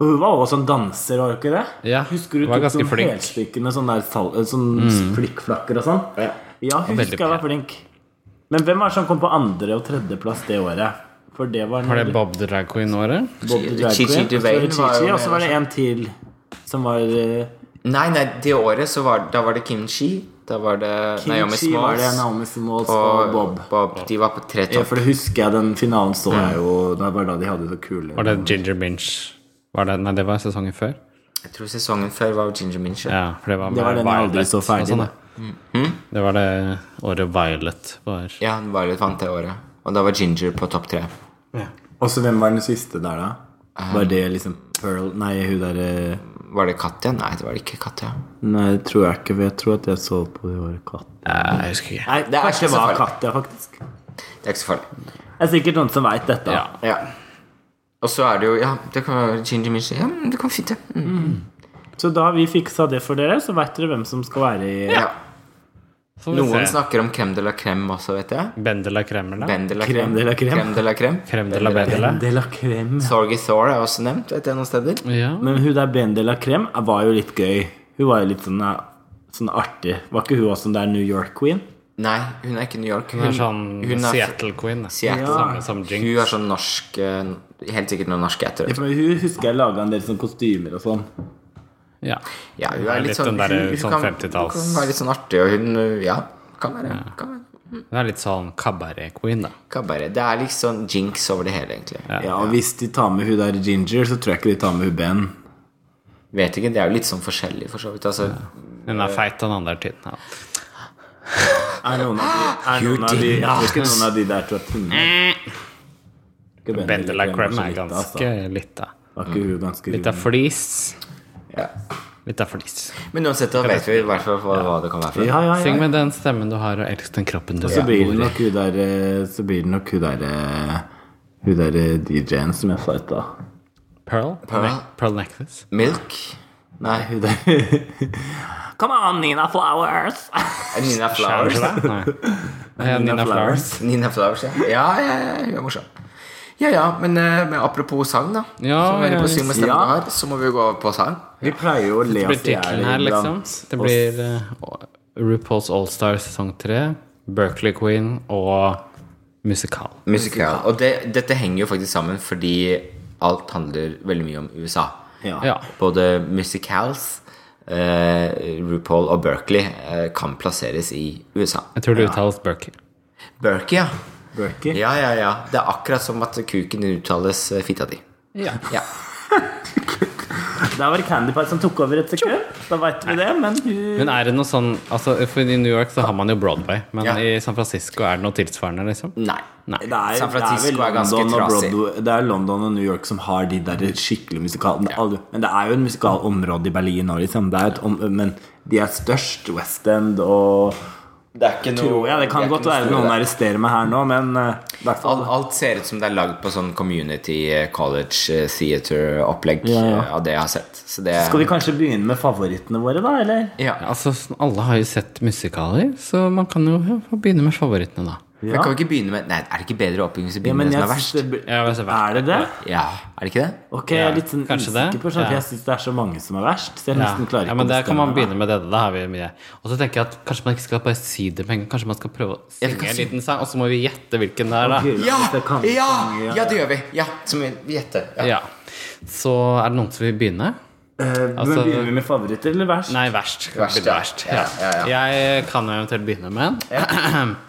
For Hun var også en danser, var hun ikke det? Ja, Husker du hun var ganske tok sånn flink. helstykke med sånn der sal- sånn flikkflakker og sånn? Ja, hun veldig husker jeg var flink. Men hvem var det som kom på andre- og tredjeplass det året? For det var Var det Bob the Drag Queen-året? Bob the Drag Chi- Chi Queen, og så var Devane det var jo Chi-Chi, med og så var det også. en til som var eh, Nei, nei, det året så var Da var det Kim Chi. Da var det Naomi Chi var det, Smalls. Naomi Smalls og Bob. De var på tre Ja, topp. for det husker jeg, den finalen så Mm. jeg jo Det var da de hadde så kule Var det Ginger Minch? Var det, nei, det var sesongen før. Jeg tror sesongen før var Ginger Minch. Ja, for det var, Det var den jeg aldri så ferdig, og sånn, da. Det var det året Violet var Ja, hun var litt vant det året. Og da var Ginger på topp tre. Og så hvem var den siste der, da? Eh. Var det liksom Pearl Nei, hun derre Var det Katja? Nei, det var ikke Katja. Nei, det tror jeg ikke. for Jeg tror at jeg så på det var katt. Nei, Jeg husker ikke. Nei, det er kanskje ikke det så var farlig. katt, ja, faktisk. Det Det er ikke så farlig. er sikkert noen som veit dette. Ja. Ja. Og så er det jo Ja, det kan være Ginger Minch. Ja, men det kan fint, det. Mm. Så da har vi fiksa det for dere, så veit dere hvem som skal være i Ja. Så får vi Noen se. snakker om crème de la crème også, vet jeg. Bendela Kremla. Crème de la Crème de la crème. Crème de la crème. Crème de la Bendela. Bendel av Krem. Sorgy Thor er også nevnt, vet jeg, noen steder. Ja. Men hun der Bendel av Krem var jo litt gøy. Hun var jo litt sånn, ja, sånn artig. Var ikke hun også den der New York-queen? Nei, hun er ikke i New York. Hun er sånn hun er, Seattle Queen. da. Seattle. Samme som hun Jinx. er sånn norsk eh, Helt sikkert noen norske etter. Hun husker jeg laga en del sånn kostymer og sånn. Ja. Ja, hun Det er er litt litt sånn den derre hun- hun sånn kan- 50-talls. Hun kan være litt sånn artig, og hun Ja, kan være. Kan være. Hun er litt sånn cabaret-queen, da. Kan være. Det er liksom jinx over det hele, egentlig. Ja, og Hvis de tar med hun der Ginger, så tror jeg ikke de tar med hun Ben. Vet ikke, det er jo litt sånn forskjellig, for så vidt. Altså, Hun er feit, den andre er tynn. Ja. Er noen av de, er You noen av de, jeg did tror ikke noen av de der tror jeg tynne. Ikke Ben, Bente Mm. la eller Crem Crem, er så vidt, altså. ganske litt, da. Var ikke hun ganske Litt av flis. ja. Litt av flis. Men uansett, da vet vi i hvert fall hva, hva det kan være for. Ja, ja, ja. Syng med den stemmen du har, og elsk den kroppen du Så er. blir det nok hun der eh, Så blir det nok hun der eh, Hun der eh, DJ-en som jeg sa i stad. Pearl? Pearl. Ne Pearl Necklace? Milk? Nei, Hun der Come on, Nina Flowers! Nina Flowers. Nei. Eh, Nina Flowers. Nina Flowers, ja. Ja, ja, ja, hun er morsom. Ja, ja, men, eh, men apropos sang, da. Ja, som vi er ja, på syng med stemmen ja. her, så må vi jo gå over på sang. Vi pleier jo å le Det blir oss i tittelen her, hjel liksom. iblant. Det blir eh, RuPaul's Allstar sesong tre, Berkeley Queen og musikal. Musikal. Og det, dette henger jo faktisk sammen fordi alt handler veldig mye om USA. Ja. Ja. Både musicals, eh, RuPaul og Berkeley eh, kan plasseres i USA. Jeg tror det uttales Berkeley. Berkeley, ja. Berkey. Ja, ja, ja. Det er akkurat som at kuken uttales eh, fitta di. Ja. Ja. Der var det Candy Pie som tok over et sekund. Da veit vi det, men hun Men er det noe sånn altså, For i New York så har man jo Broadway, men Ja. i San Francisco er det noe tilsvarende, liksom? Nei. Nei. det er, San Francisco det er er, vel ganske London og trasig. Broadway, det er London og New York som har de der skikkelig musikalene. Alle- Men det er jo en musikalområde i Berlin òg, liksom. Det er et om, men de er størst. West End og Det er ikke noe Tror jeg. Det kan er ikke godt noe være større noen der. arresterer meg her nå, men eh, i hvert fall Alt, alt ser ut som det er lagd på sånn community eh, college eh, theater-opplegg Ja, ja. eh, av det jeg har sett. Så det Skal vi kanskje begynne med favorittene våre, da? Eller? ja. Altså, sånn, alle har jo sett musikaler, så man kan jo ja, få begynne med favorittene, da. Men kan vi ikke begynne med Nei, er det ikke bedre oppbyggelse Ja, å begynne men med det jeg som er synes verst? det blir- Ja, men så verst. er det det? Ja, er det ikke det? Ok, jeg er litt sånn kanskje usikker det. på sånn, for Ja. jeg syns det er så mange som er verst. Så jeg Ja. nesten klarer ikke ja, men å Der kan man bestemme meg. begynne med dette. Da har vi mye. Og så tenker jeg at kanskje man ikke skal bare si det med en gang. Kanskje man skal prøve å vi synge kan en si- liten sang, og så må vi gjette hvilken det er, da. Ok, Ja! det kan- Ja! ja. ja, det gjør vi. Ja, Som vi gjetter. Ja. Ja. Så er det noen som vil begynne? Eh, Altså- men begynner vi med favoritter eller verst? Nei, verst. Verst, Begynne ja. verst. Ja, ja, Jeg kan jo eventuelt begynne med en.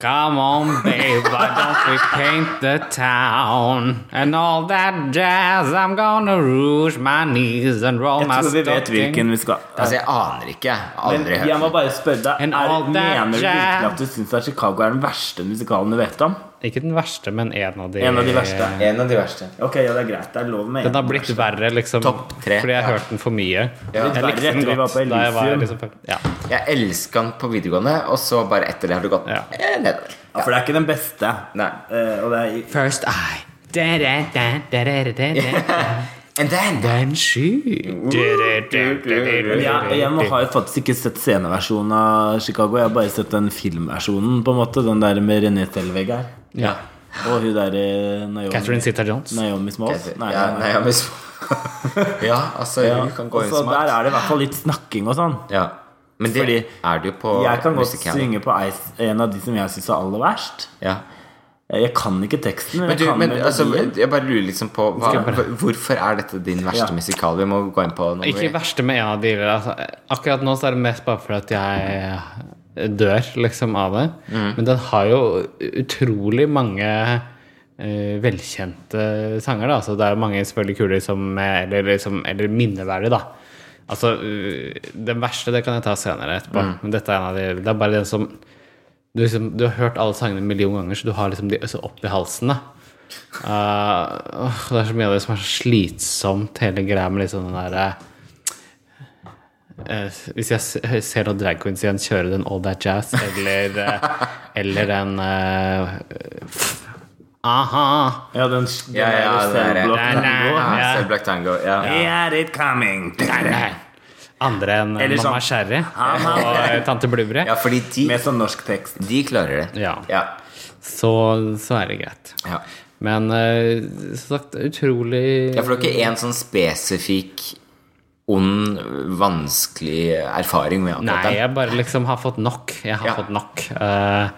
Come on, babe, why don't we paint the town? And all that jazz, I'm gonna rouge my knees and roll Jeg my tror vi vet stocking. hvilken vi skal Altså, jeg aner ikke. Jeg har Men Aldri jeg hørt. må bare spørre deg And er, all that Mener du virkelig jazz. at du syns at Chicago er den verste musikalen du vet om? Ikke den verste, men en av de En av de verste. En av de verste. Ok, ja, det er greit. Det er lov med Eh. Den en. har blitt verre, liksom. Topp tre, Fordi jeg ja. har hørt den for mye. Litt Jeg verre likte den etter vi var godt på da jeg var Elysium. liksom ja. Jeg elska den på videregående, og så bare etter det har det gått Ja. eh, nedover. Ja, for det er ikke den beste. Nei. Eh, og det er First eye. Da, da, da, da, da, da, da. And then Den sky. Da, da, da, da, da, Men jeg, jeg må, da, da. har jo faktisk ikke sett sceneversjonen av Chicago. Jeg har bare sett den filmversjonen, på en måte. Den der med René Telveg her. Ja. Og hun der eh, Naomi Catherine Zeta-Jones. Naomi Smalls. Ja, Nei, nei, nei, jeg må Ja, altså, Ja. vi kan gå Og inn så som der alt. er det i hvert fall litt snakking og sånn. Ja. Men det Fordi er det jo på Jeg kan godt musicalen. synge på Ice, en av de som jeg syns er aller verst. Ja. Jeg kan ikke teksten, men, Men, du, jeg kan men altså, melodien. jeg bare lurer liksom på hva, Skal jeg bare- Hvorfor er dette din verste Ja. musikal? Vi må gå inn på noe. Ikke verste med en av de altså, Akkurat nå så er det mest bare fordi at jeg dør liksom av det. Men den har jo utrolig mange eh, velkjente sanger, da. Så det er jo mange selvfølgelig kule som Eller, liksom, eller minneverdige, da. Altså, eh, den verste det kan jeg ta senere etterpå. Men dette er en av de Det er bare den som du, liksom, du har hørt alle sangene en million ganger, så du har liksom de så opp i halsen. da Eh, åh, det er så mye av det som er så slitsomt, hele greia med liksom den derre eh, Hvis jeg s- ser noen drag queens igjen kjøre den All That Jazz, eller, eh, eller den eh, f- Aha! Ja, den, den Ja, ja, der det er- selvblokken Nei, nei, går. Ja, Ja. så Black Tango. Ja. Here it coming Andre enn Eller Mamma sånn- Sherry og eh, Tante Blubber. ja, fordi de, Med sånn norsk tekst. de klarer det. Ja. Ja. Så, så er det greit. ja. Men eh, som sagt, utrolig Ja, for det er ikke en sånn spesifikk ond, vanskelig erfaring med akkurat Nei, den. jeg bare liksom har fått nok. Jeg har Ja. fått nok. Eh,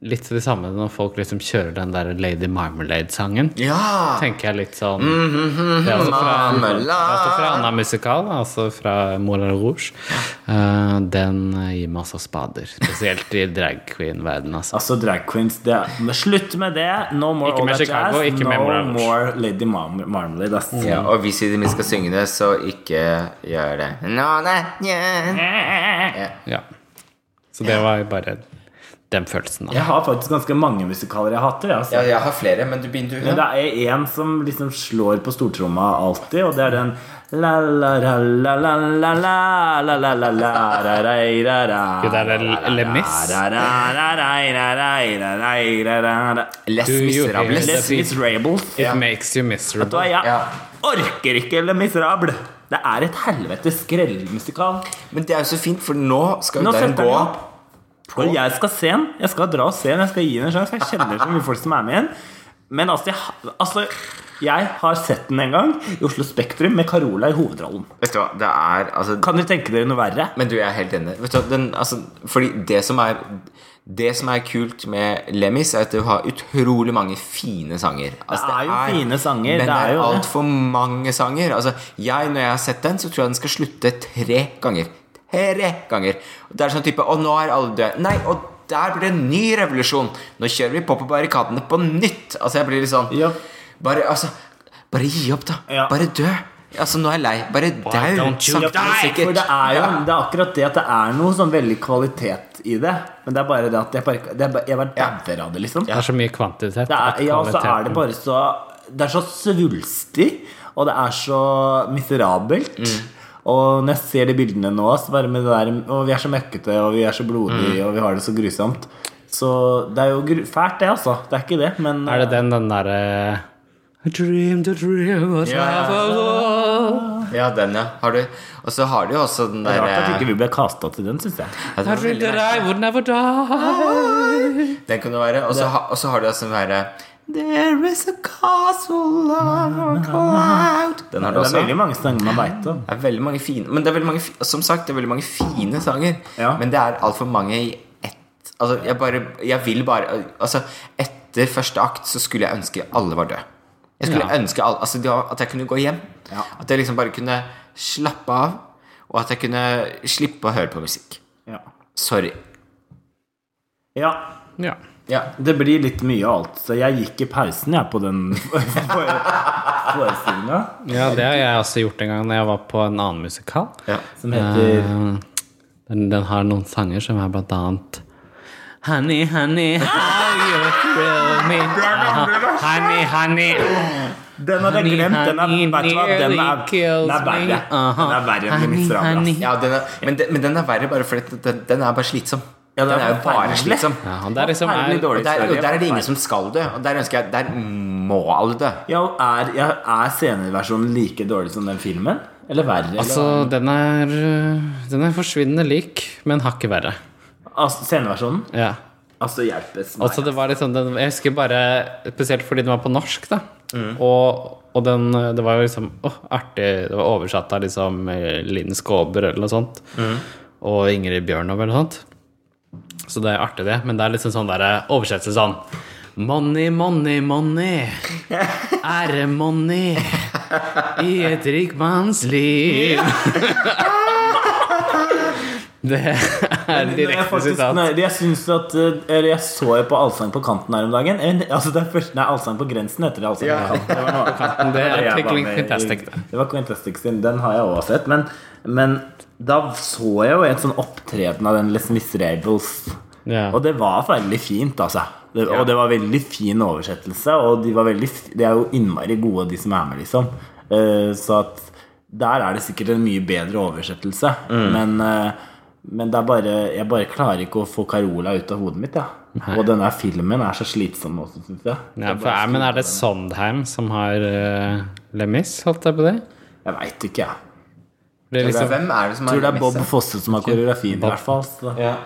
litt det samme når folk liksom kjører den der Lady Marmalade-sangen. Ja! Tenker jeg litt sånn Det er altså fra, Marmalade. det er altså Ah. fra Anna Musikal, da, altså fra Moulin Rouge. Eh, den eh, gir meg altså spader. Spesielt i drag queen-verdenen, altså. Altså drag queens det er, men Slutt med det! No more Ikke all med that Chicago, jazz. ikke no med Moulin Rouge. more Lady Marm- Marmalade. ass. Ja, og hvis vi skal synge det, så ikke gjør det. No, nei, yeah. Ah. Ja. Så det var bare den følelsen, da. Jeg har faktisk ganske mange musikaler jeg hater. jeg, Altså. ja, jeg har flere, men du begynner du. Men det er én som liksom slår på stortromma alltid, og det er den la la la la la la la la la la la ra ra ra ra Gud, er det Le- Les Mis? ra ra ra ra ra ra ra ra ra ra ra Les Do you Miserables. hear Les Miserables. It makes you miserable. Vet du hva, jeg Ja. orker ikke Le Miserable. Det er et helvetes skrellmusikal. Men det er jo så fint, for nå skal Nå jo den setter gå den opp. Og jeg skal se den. Jeg skal dra og se den. Jeg skal gi den en sjanse. for Jeg kjenner så mye folk som er med i den. Men altså jeg, ha- altså, jeg har sett den en gang i Oslo Spektrum med Carola i hovedrollen. Vet du hva, det er altså Kan dere tenke dere noe verre? Men du, jeg er helt enig. Vet du, hva, den, altså, fordi det som er det som er kult med Lemmis, er at du har utrolig mange fine sanger. Altså, Det er jo fine sanger, Men det det er er jo det. altfor mange sanger. Altså, jeg, Når jeg har sett den, så tror jeg den skal slutte tre ganger. Tre ganger. Og Det er sånn type Å, nå er alle døde. Nei, og der blir det en ny revolusjon. Nå kjører vi på på barrikadene på nytt. Altså, jeg blir litt sånn Ja. Bare, altså, bare gi opp, da. Ja. Bare dø. Altså, nå er jeg lei. Bare dau. don't Sakte, you men die? For sikkert. det er jo Ja. det er akkurat det at det er noe sånn veldig kvalitet i det. Men det er bare det at jeg bare, det er bare, jeg bare dauer av det, liksom. Det er så mye kvantitet. Det at er, ja, og så er kvaliteten- det bare så Det er så svulstig, og det er så miserabelt. Og når jeg ser de bildene nå, så bare med det der Og vi er så møkkete, og vi er så blodige, og vi har det så grusomt. Så det er jo gru fælt, det, altså. Det er ikke det, men Er det den, den derre I dreamed a dream of Ja. travel. Ja, den, ja. Har du. Og så har du jo også den det er der rart at eh, ikke vi ble kasta til den, syns jeg. ja, den, I var dreamed veldig that I merkelig. would never Ah. die. den kan du være. Og så ha- og så har du også den derre There is a castle on a cloud Den har du Det er også. veldig mange sanger man veit om. Det er veldig mange fine Men det er veldig mange, fi- som sagt, det er veldig mange fine sanger. Ja. Men det er altfor mange i ett Altså, jeg bare Jeg vil bare Altså, etter første akt så skulle jeg ønske alle var døde. Jeg skulle ønske alle, altså, det var- at jeg kunne gå hjem. Ja. At jeg liksom bare kunne slappe av. Og at jeg kunne slippe å høre på musikk. Ja. Sorry. ja. Ja. Ja. Det blir litt mye av alt. Så jeg gikk i pausen, jeg, på den forestillinga ja, det har jeg også gjort en gang Når jeg var på en annen musikal. ja. som heter Eh, Den, den har noen sanger som er blant annet Honey, honey, how you thrill me Honey, honey Den hadde jeg glemt. Den er, Honey, vet du hva, den er, nearly kills den er verre. me. Aha. Den er verre enn Honey, Miserable. honey. Ja, den er, men, den, men den er verre bare fordi at den, den er bare slitsom. Ja, den den, er er jo bare forferdelig. slitsom. Ja, det er liksom Forferdelig er, dårlig. Og der, og sorry, der er det jeg- ingen som skal dø. Og der ønsker jeg Der må alle dø. Ja, og er, ja, er sceneversjonen like dårlig som den filmen? Eller verre? Altså, den er øh, Den er forsvinnende lik, men hakket verre Eller? Altså, sceneversjonen? Ja Altså, hjelpes meg. Altså, det var litt sånn den, Jeg husker bare Spesielt fordi den var på norsk, da. Og, og den Det var jo liksom Å, artig. Det var oversatt av liksom eh, Linn Skåber eller noe sånt. Og Ingrid Bjørnov eller noe sånt. Så det er artig, det. Men det er liksom sånn der eh, oversettelse sånn Money, money, money. Ære-money i et rikmannsliv. Det er Men jeg direkte faktisk- sitat. Nei, jeg syns at eh, Eller jeg så jo på Allsang på kanten her om dagen. En- Altså, det er først, nei, Allsang på grensen heter det. Allsang på kanten. Det var noe- Det Det er jeg var Tickling med i- Fantastic. det. Det var Quintastic sin. Den har jeg også sett. Men, men da så jeg jo en sånn opptreden av den Les Miserables. Ja. Og det var veldig fint, altså. Det, Og det var veldig fin oversettelse, og de, var veldig, f- de er jo innmari gode, de som er med, liksom. Eh, så at der er det sikkert en mye bedre oversettelse. Mm. Men, eh, men det er bare, jeg bare klarer ikke å få Carola ut av hodet mitt, ja. Og denne filmen er så slitsom også, syns jeg. Ja, for er, men er det Sondheim som har uh, Lemis, holdt jeg på det? Jeg veit ikke, jeg. For det, er liksom, Hvem er det som Jeg har tror det er Bob mistet? Fosse som har koreografien, i hvert fall. Så. Ja.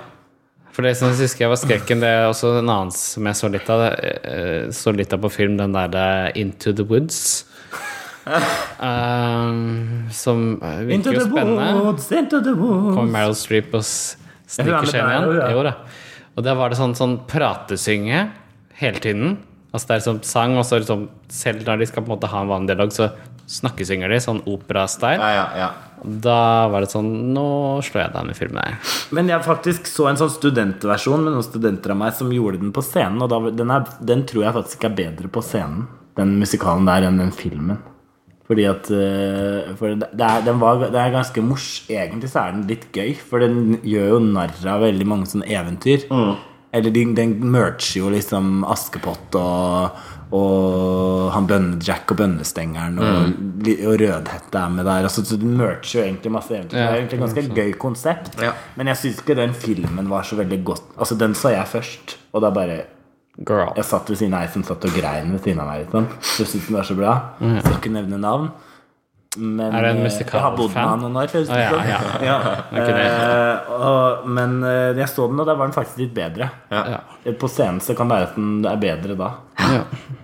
for det som jeg husker jeg var skrekken, det er også en annen som jeg så litt av. eh, Så litt av på film, den der eh, Into the Woods. Um, som eh, Into virker jo the spennende. woods, into the woods. Kommer Meryl Streep og s- Ja, hun er sniker med seg inn der, igjen. ja. Jo da. Og der var det sånn, sånn pratesynge hele tiden. Altså det er sånn sang, og så liksom, selv når de skal på en måte ha en vanlig dialog, så snakkesynger de, sånn operastyle. Ja, ja, ja. Da var det sånn Nå slår jeg deg med filmen her. Men jeg faktisk så en sånn studentversjon med noen studenter av meg som gjorde den på scenen. Og da, den, er, den tror jeg faktisk er bedre på scenen, den musikalen der, enn den filmen. Fordi at eh, for det, det er, den var, det er ganske mors Egentlig så er den litt gøy, for den gjør jo narr av veldig mange sånne eventyr. Eller den, den merger jo liksom Askepott og, og han Bønnejack og Bønnestengeren og, li- og Rødhette er med der. Altså, så den merger jo egentlig masse eventyr. Det er egentlig et ganske gøy konsept. Ja. Men jeg syns ikke den filmen var så veldig godt Altså, den sa jeg først, og da bare Girl. Jeg satt ved siden av ei som satt og grein ved siden av meg. Liksom. Så syntes den var så bra. Skal ikke nevne navn. Men Er det en eh, musikalfan? jeg har bodd med han noen år. føles det ja, som. ja. Ja. Eh, og, men eh, jeg så den, og da var den faktisk litt bedre. Eh, Eh, Ja. På scenen så kan det være at den er bedre da. Ja.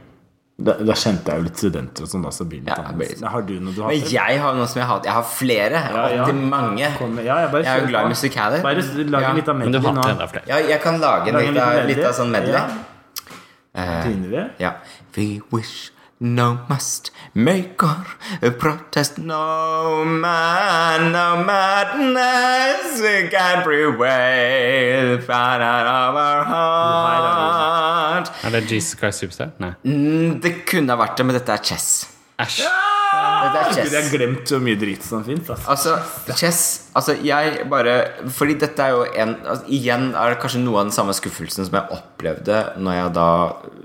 Da, da kjente jeg jo litt studenter og sånn, da, så blir det litt Ja, det blir annerledes. litt- Men Har du noe du Men hater? jeg har noe som jeg hater. Jeg har flere. Ja, ja. Opptil mange. Kom- Ja, jeg, bare Jeg er jo kjører glad i på. musikaler. Bare s- lag Ja. en liten Men du medley nå. hater enda flere. Ja, jeg kan lage en Lage en litt av, liten litt av sånn medley. Ja. Eh, Begynner vi? ja. We wish no must make or protest no man, no madness can prevail far out of our heart. Er det Jesus Christ Superstar? Nei. Mm, Det kunne ha vært det, men dette er chess. Æsj. Dette er Gud, jeg chess. har glemt så mye dritt som fins. Altså. Altså, chess Altså, jeg bare Fordi dette er jo en altså, Igjen er det kanskje noe av den samme skuffelsen som jeg opplevde når jeg da øh,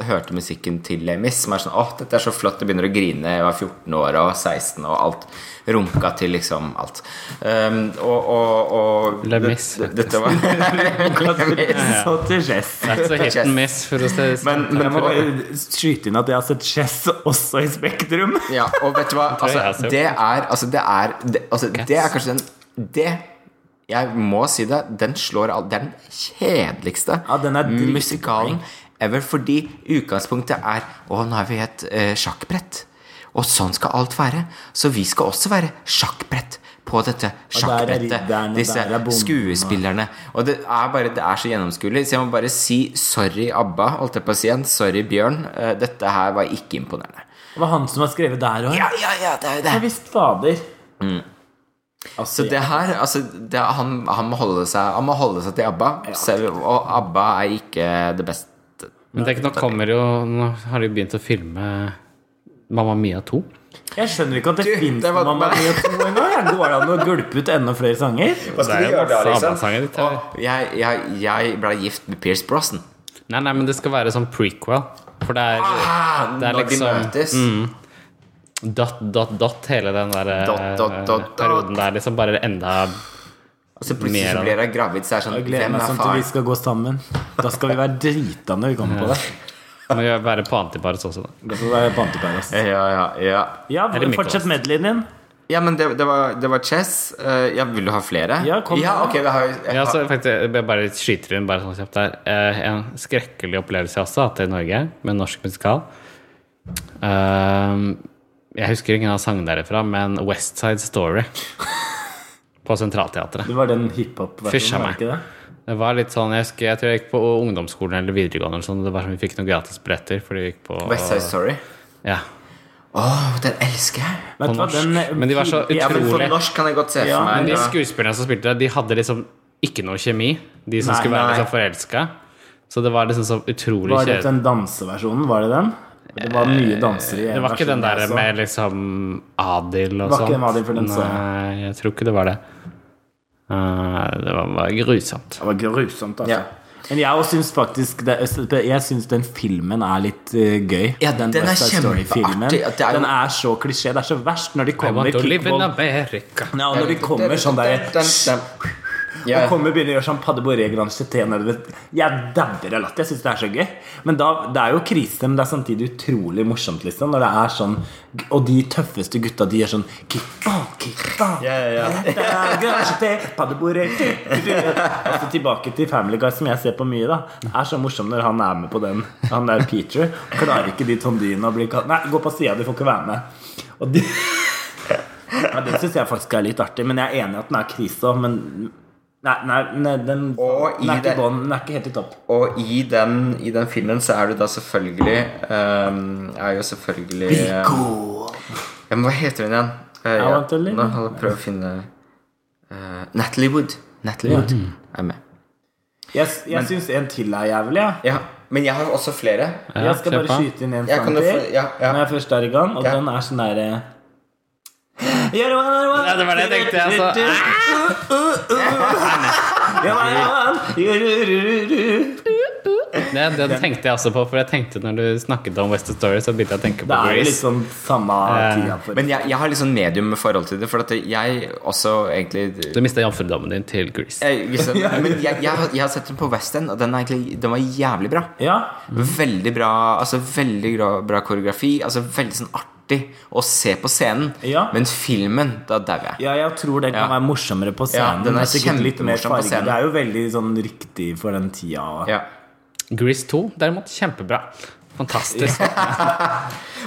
hørte musikken til Les Mis, som er sånn Åh, dette er så flott. Jeg begynner å grine. Jeg var 14 år og 16 og alt. Runka til liksom alt. Um, og, og, og Les Mis. det- Dette var Les Mis. Så til Chess. Det er ikke så hit and Chess. miss, for å si sånn. Men, Jeg men må på, bare skyte inn at jeg har sett Chess også i Spektrum. Ja, og vet du hva? tror jeg Altså, jeg ser det er Altså, det er det, altså, det er kanskje den Det Jeg må si det. Den slår all Det er den kjedeligste Ja, den er dritdårlig. musikalen ever. Fordi utgangspunktet er Å, nå er vi et eh, sjakkbrett. Og sånn skal alt være. Så vi skal også være sjakkbrett på der dette er sjakkbrettet. ridderen, og Disse der er bonden, skuespillerne spillerne. Og det er bare Det er så gjennomskuelig. Så jeg må bare si sorry, ABBA. Holdt jeg på å si igjen. Sorry, Bjørn. Eh, Dette her var ikke imponerende. Det var han som har skrevet der òg. Ja, ja, ja, det er jo det. Ja visst, fader. Altså, Mm. Så det her, altså det, han, han, må holde seg, han må holde seg til ABBA. selv- og ABBA er ikke det beste. Men tenk, nå kommer jo Nå har de jo begynt å filme Mamma Mia 2. jeg skjønner ikke at det Du, fins det var- Mamma Mia 2 engang. Jeg Går det an å gulpe ut enda flere sanger? Hva Det er jo masse liksom? altså. ABBA-sanger. dette her. Jeg, jeg, jeg ble gift med Pierce Brosnan. Nei, nei, men det skal være sånn prequel. For det er Ah, Det er når de liksom- møtes. Mm, dot, dot, dot, hele den der eh, Dot, dot, dot, perioden der. Liksom bare enda Og så Mer plutselig så av blir hun gravid, så er det sånn Jeg gleder Hvem meg er sånn til vi faren? skal gå sammen. Da skal vi være drita når vi kommer på det. Må jo være på antibaris også, da. Det får være altså. pantepær, ass. Ja, ja, ja. Ja, Eller Mikkel, fortsett ass. medleyen din. ja, men det, det, var, det var chess. Eh, ja, vil du ha flere? Ja, kom ja, med. ok, vi har jo Ja, så faktisk, jeg bare skyter inn bare sånn kjapt der. Eh, En skrekkelig opplevelse jeg også har hatt i Norge, med en norsk musikal. Ehm, Jeg husker ingen av sangene derifra, men West Side Story på Sentralteatret. Det var den hiphop-versjonen, Fysj av var meg. det ikke det? Det var litt sånn, jeg, husker, jeg tror jeg gikk på ungdomsskolen eller videregående, eller sånn, det var som vi fikk noen gratisbilletter fordi vi gikk på West Side Story. Ja. Å, den elsker jeg! Vet På du hva, norsk. den- eh, Men de var så Ja, men Men for- for Rolig. norsk kan jeg godt se for Ja, meg. Men de ja. skuespillerne som spilte der, de hadde liksom ikke noe kjemi. De som Nei, skulle være nei. liksom forelska. Så det var liksom så utrolig Var det kjedelig. den danseversjonen? Var det den? Det var mye dansere i en Eh, Det var ikke versjon den altså. jeg der så. med liksom Adil Det var ikke og sånt. den Adil, for den så jeg. Nei, jeg tror ikke det var det. Eh, det var bare grusomt. Det var grusomt, altså. Ja. Men jeg også syns faktisk det, Jeg syns den filmen er litt eh, gøy. Ja, den West er Side Story-filmen. kjempeartig, at det er jo- Den er så klisjé. Det er så verst når de I kommer want to live in kickball- America. Nei, og når de kommer sånn der Ja. og kommer og begynner å gjøre sånn padeboré grand cheté nedover. Jeg dauer av latter. Jeg syns det er så gøy. Men da, det er jo krise, men det er samtidig utrolig morsomt, liksom. Når det er sånn Og de tøffeste gutta, de gjør sånn kikka, kikka, Ja, ja, ja. grand cheté, padeboré du, du, du. Altså tilbake til Family Guy, som jeg ser på mye, da. Det er så morsomt når han er med på den. Han der Peter. Klarer ikke de tondyene å bli kalt Nei, gå på sida, du får ikke være med. Og de ja, Det syns jeg faktisk er litt artig, men jeg er enig i at den er krise. også, Men Nei, nei, nei den, Og den, i er ikke det- bånd, den er ikke helt i topp. Og i den, i den filmen så er du da selvfølgelig ehm, Er jo selvfølgelig eh, Ja, men hva heter hun igjen? Eh, ja, want to live. Nå holder jeg på å finne eh, Natalie Wood. Natalie Wood er med. Jeg, jeg syns en til er jævlig, jeg. Ja, men jeg har også flere. Jeg skal kjøp bare av. skyte inn en Jeg sang kan jo til få- ja, ja. når jeg først er i gang, og Ja. den er sånn derre You're the one I want. Ja, det var det jeg tenkte, jeg, altså. You're the one I want. Ru-ru-ru-ru. Det, det tenkte jeg også på, for jeg tenkte når du snakket om West Story, så begynte jeg å tenke på Det er jo Grace. litt sånn samme tida for Men jeg, jeg har litt sånn medium forhold til det, for at jeg også egentlig Du mista jomfrudommen din til Grease. jeg, liksom, men jeg, jeg, har- jeg har sett den på West End, og den, er egentlig, den var jævlig bra. Ja. Veldig bra altså veldig bra, bra koreografi. Altså Veldig sånn artig å se på scenen. Ja. Men filmen, da dauer jeg. ja, jeg tror den kan Ja. være morsommere på Ja, scenen. den er og sikkert litt mer kjempemorsom på farge. scenen. Det er jo veldig sånn riktig for den tida. og- Ja. Grease 2, derimot, kjempebra. Fantastisk.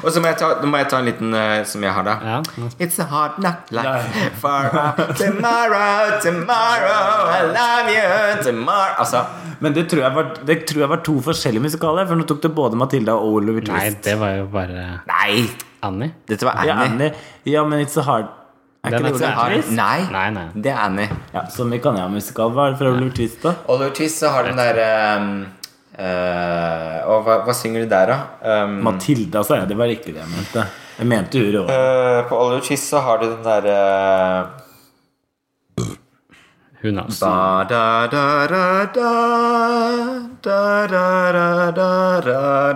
Og så må jeg ta, nå må jeg ta en liten eh, som jeg har, da. Ja. It's a hard knock Nei. life far out tomorrow, tomorrow, I love you tomorrow Altså, Men det tror, jeg var, det tror jeg var to forskjellige musikaler, for nå tok det både Matilda og Oliver Nei, Twist. det var jo bare nei! Annie. Dette var Ja, Annie. Annie. ja, men It's a Hard Er ikke Den er det ikke Oliver så hard. Twist? Nei, Nei, nei. det er Annie. Ja, så mye kan jeg om musikal. Hva er det fra Oliver Twist, da? Oliver Twist så har den derre Og hva, hva synger de der, da? Um, Matilda, sa jeg. Det var ikke det jeg mente. Jeg mente Uro. Eh, på Oliver Twist så har du den eh, derre Who knows? da, da, da, da, da, da, da, da,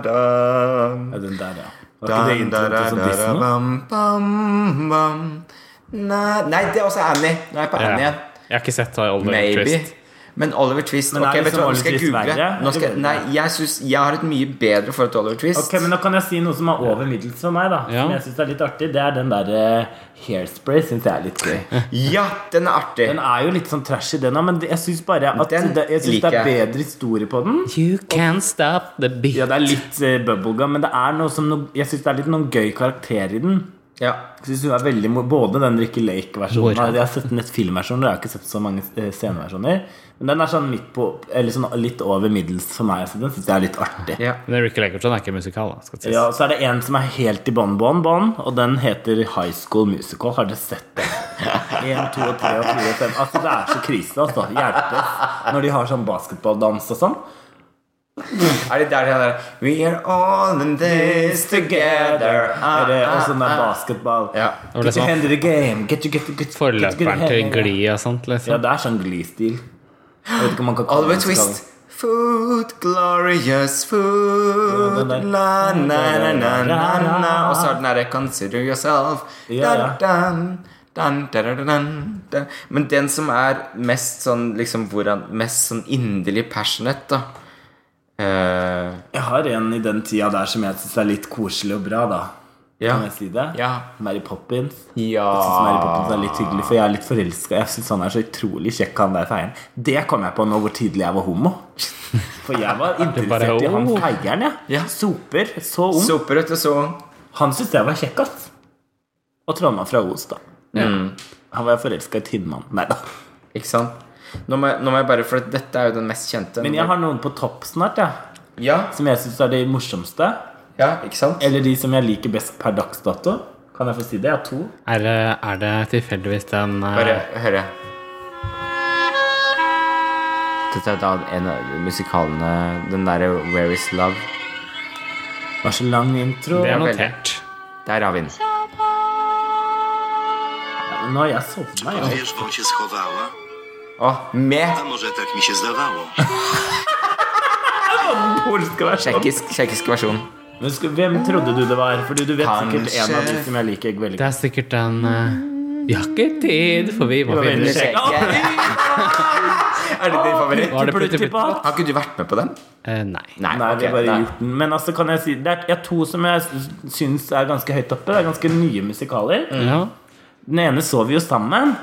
da, da, da. Ja, den der, ja. Var ikke Da, det da, da, introen til da, sånn da, Disney? bam, bam, bam. Na- Nei, det er også Annie. Nå er jeg på Annie Ja. igjen. Jeg har ikke sett Oliver Maybe. Twist. Men Oliver Twist Men er Ok, vet du liksom hva, nå skal jeg Oliver Twist google. verre? Nå skal, Eller- nei, jeg, synes, jeg har et mye bedre forhold til Oliver Twist. Ok, men Nå kan jeg si noe som er over middels for meg. da Ja. Som jeg synes er litt artig Det er den der eh, hairspray. Synes jeg er litt gøy. Ja, den er artig. Den er jo litt sånn trashy, den òg, men jeg syns bare at Den det, jeg synes det liker er jeg. bedre historie på den. You can't stop the beat. Ja, det er litt eh, bubblegum, men det er noe som noe, jeg syns det er litt noen gøy karakter i den. Ja. Jeg synes hun er veldig mo- Både den Ricky Lake-versjonen Hvor? Jeg har sett den et filmversjon, jeg har ikke sett så mange eh, sceneversjoner. Men den er sånn midt på Eller sånn litt over middels for meg, så den syns jeg er litt artig. ja. Men Ricky Lagerton er ikke musikal, da. Skal det sies. Ja, Så er det en som er helt i bånn, bånn, bånn, og den heter High School Musical. Har dere sett den? En, to, og tre og fire og fem. Altså, det er så krise, altså. Hjelpes når de har sånn basketballdans og sånn. Er det der den der We are all in this together. Ah, Er det, og sånn ah, der ah. basketball. Ja. var det Get som your var hand in the game. Get your, get your, get your, get your, Forløperen hand til in the- Glee og sånt, Ja, liksom. det er sånn Glee-stil. Jeg vet ikke om man kan kalle Oliver det en skala. Twist. Food, glorious food Ja, den der. La, na, na, na, na, na. Og så er den derre Consider yourself. Ja, ja. Dun, dun. Dun, dun, dun, dun, dun. Men den som er mest sånn liksom hvordan, Mest sånn inderlig passionate, da. Eh, Jeg har en i den tida der som jeg syns er litt koselig og bra, da. ja. Kan jeg si det? Ja. Mary Poppins. Jeg synes Ah. Mary ja. Poppins er litt hyggelig, for jeg er litt forelska. Jeg syns han er så utrolig kjekk, han der feieren. Det kom jeg på nå hvor tidlig jeg var homo. For jeg var bare, interessert i han oh. feieren, jeg. Ja. Soper. Så ung. Soper, vet du, så Han syns jeg var kjekk, ass. Og trollmann fra Os, da. Mm. Han var forelska i Tinnmann. Nei da. Ikke sant? Nå må, jeg, nå må jeg bare For dette er jo den mest kjente. Men jeg har noen på topp snart, jeg. Ja, Som jeg syns er de morsomste. ja, ikke sant? Eller de som jeg liker best per dags dato. Kan jeg få si det? Jeg har to. Er, det- er det tilfeldigvis den eh, Bare høre. Dette er da en av musikalene Den derre Where Is Love. var så lang intro. Det er vel. notert. Der har vi den. Nå har jeg sovna, jeg. Wiesz, bo się schowała? Å, med A może tak mi się zdawało? tsjekkisk, tsjekkisk versjon. Men sku- hvem trodde du det var? Fordi du vet sikkert Kanskje- en av de som jeg liker veldig Det godt. er sikkert den eh, Vi har ikke tid, for vi må Det var finne veldig kjekk. kjekt. Er det din favoritt? Var Tipper det du Putti Putti tippa? Pott? Har ikke du vært med på den? Eh, Nei. Nei, vi ok, har bare nei. gjort den. Men altså, kan jeg si Det er jeg har to som jeg s- syns er ganske høyt oppe. Det er ganske nye musikaler. Ja. Den ene så vi jo sammen.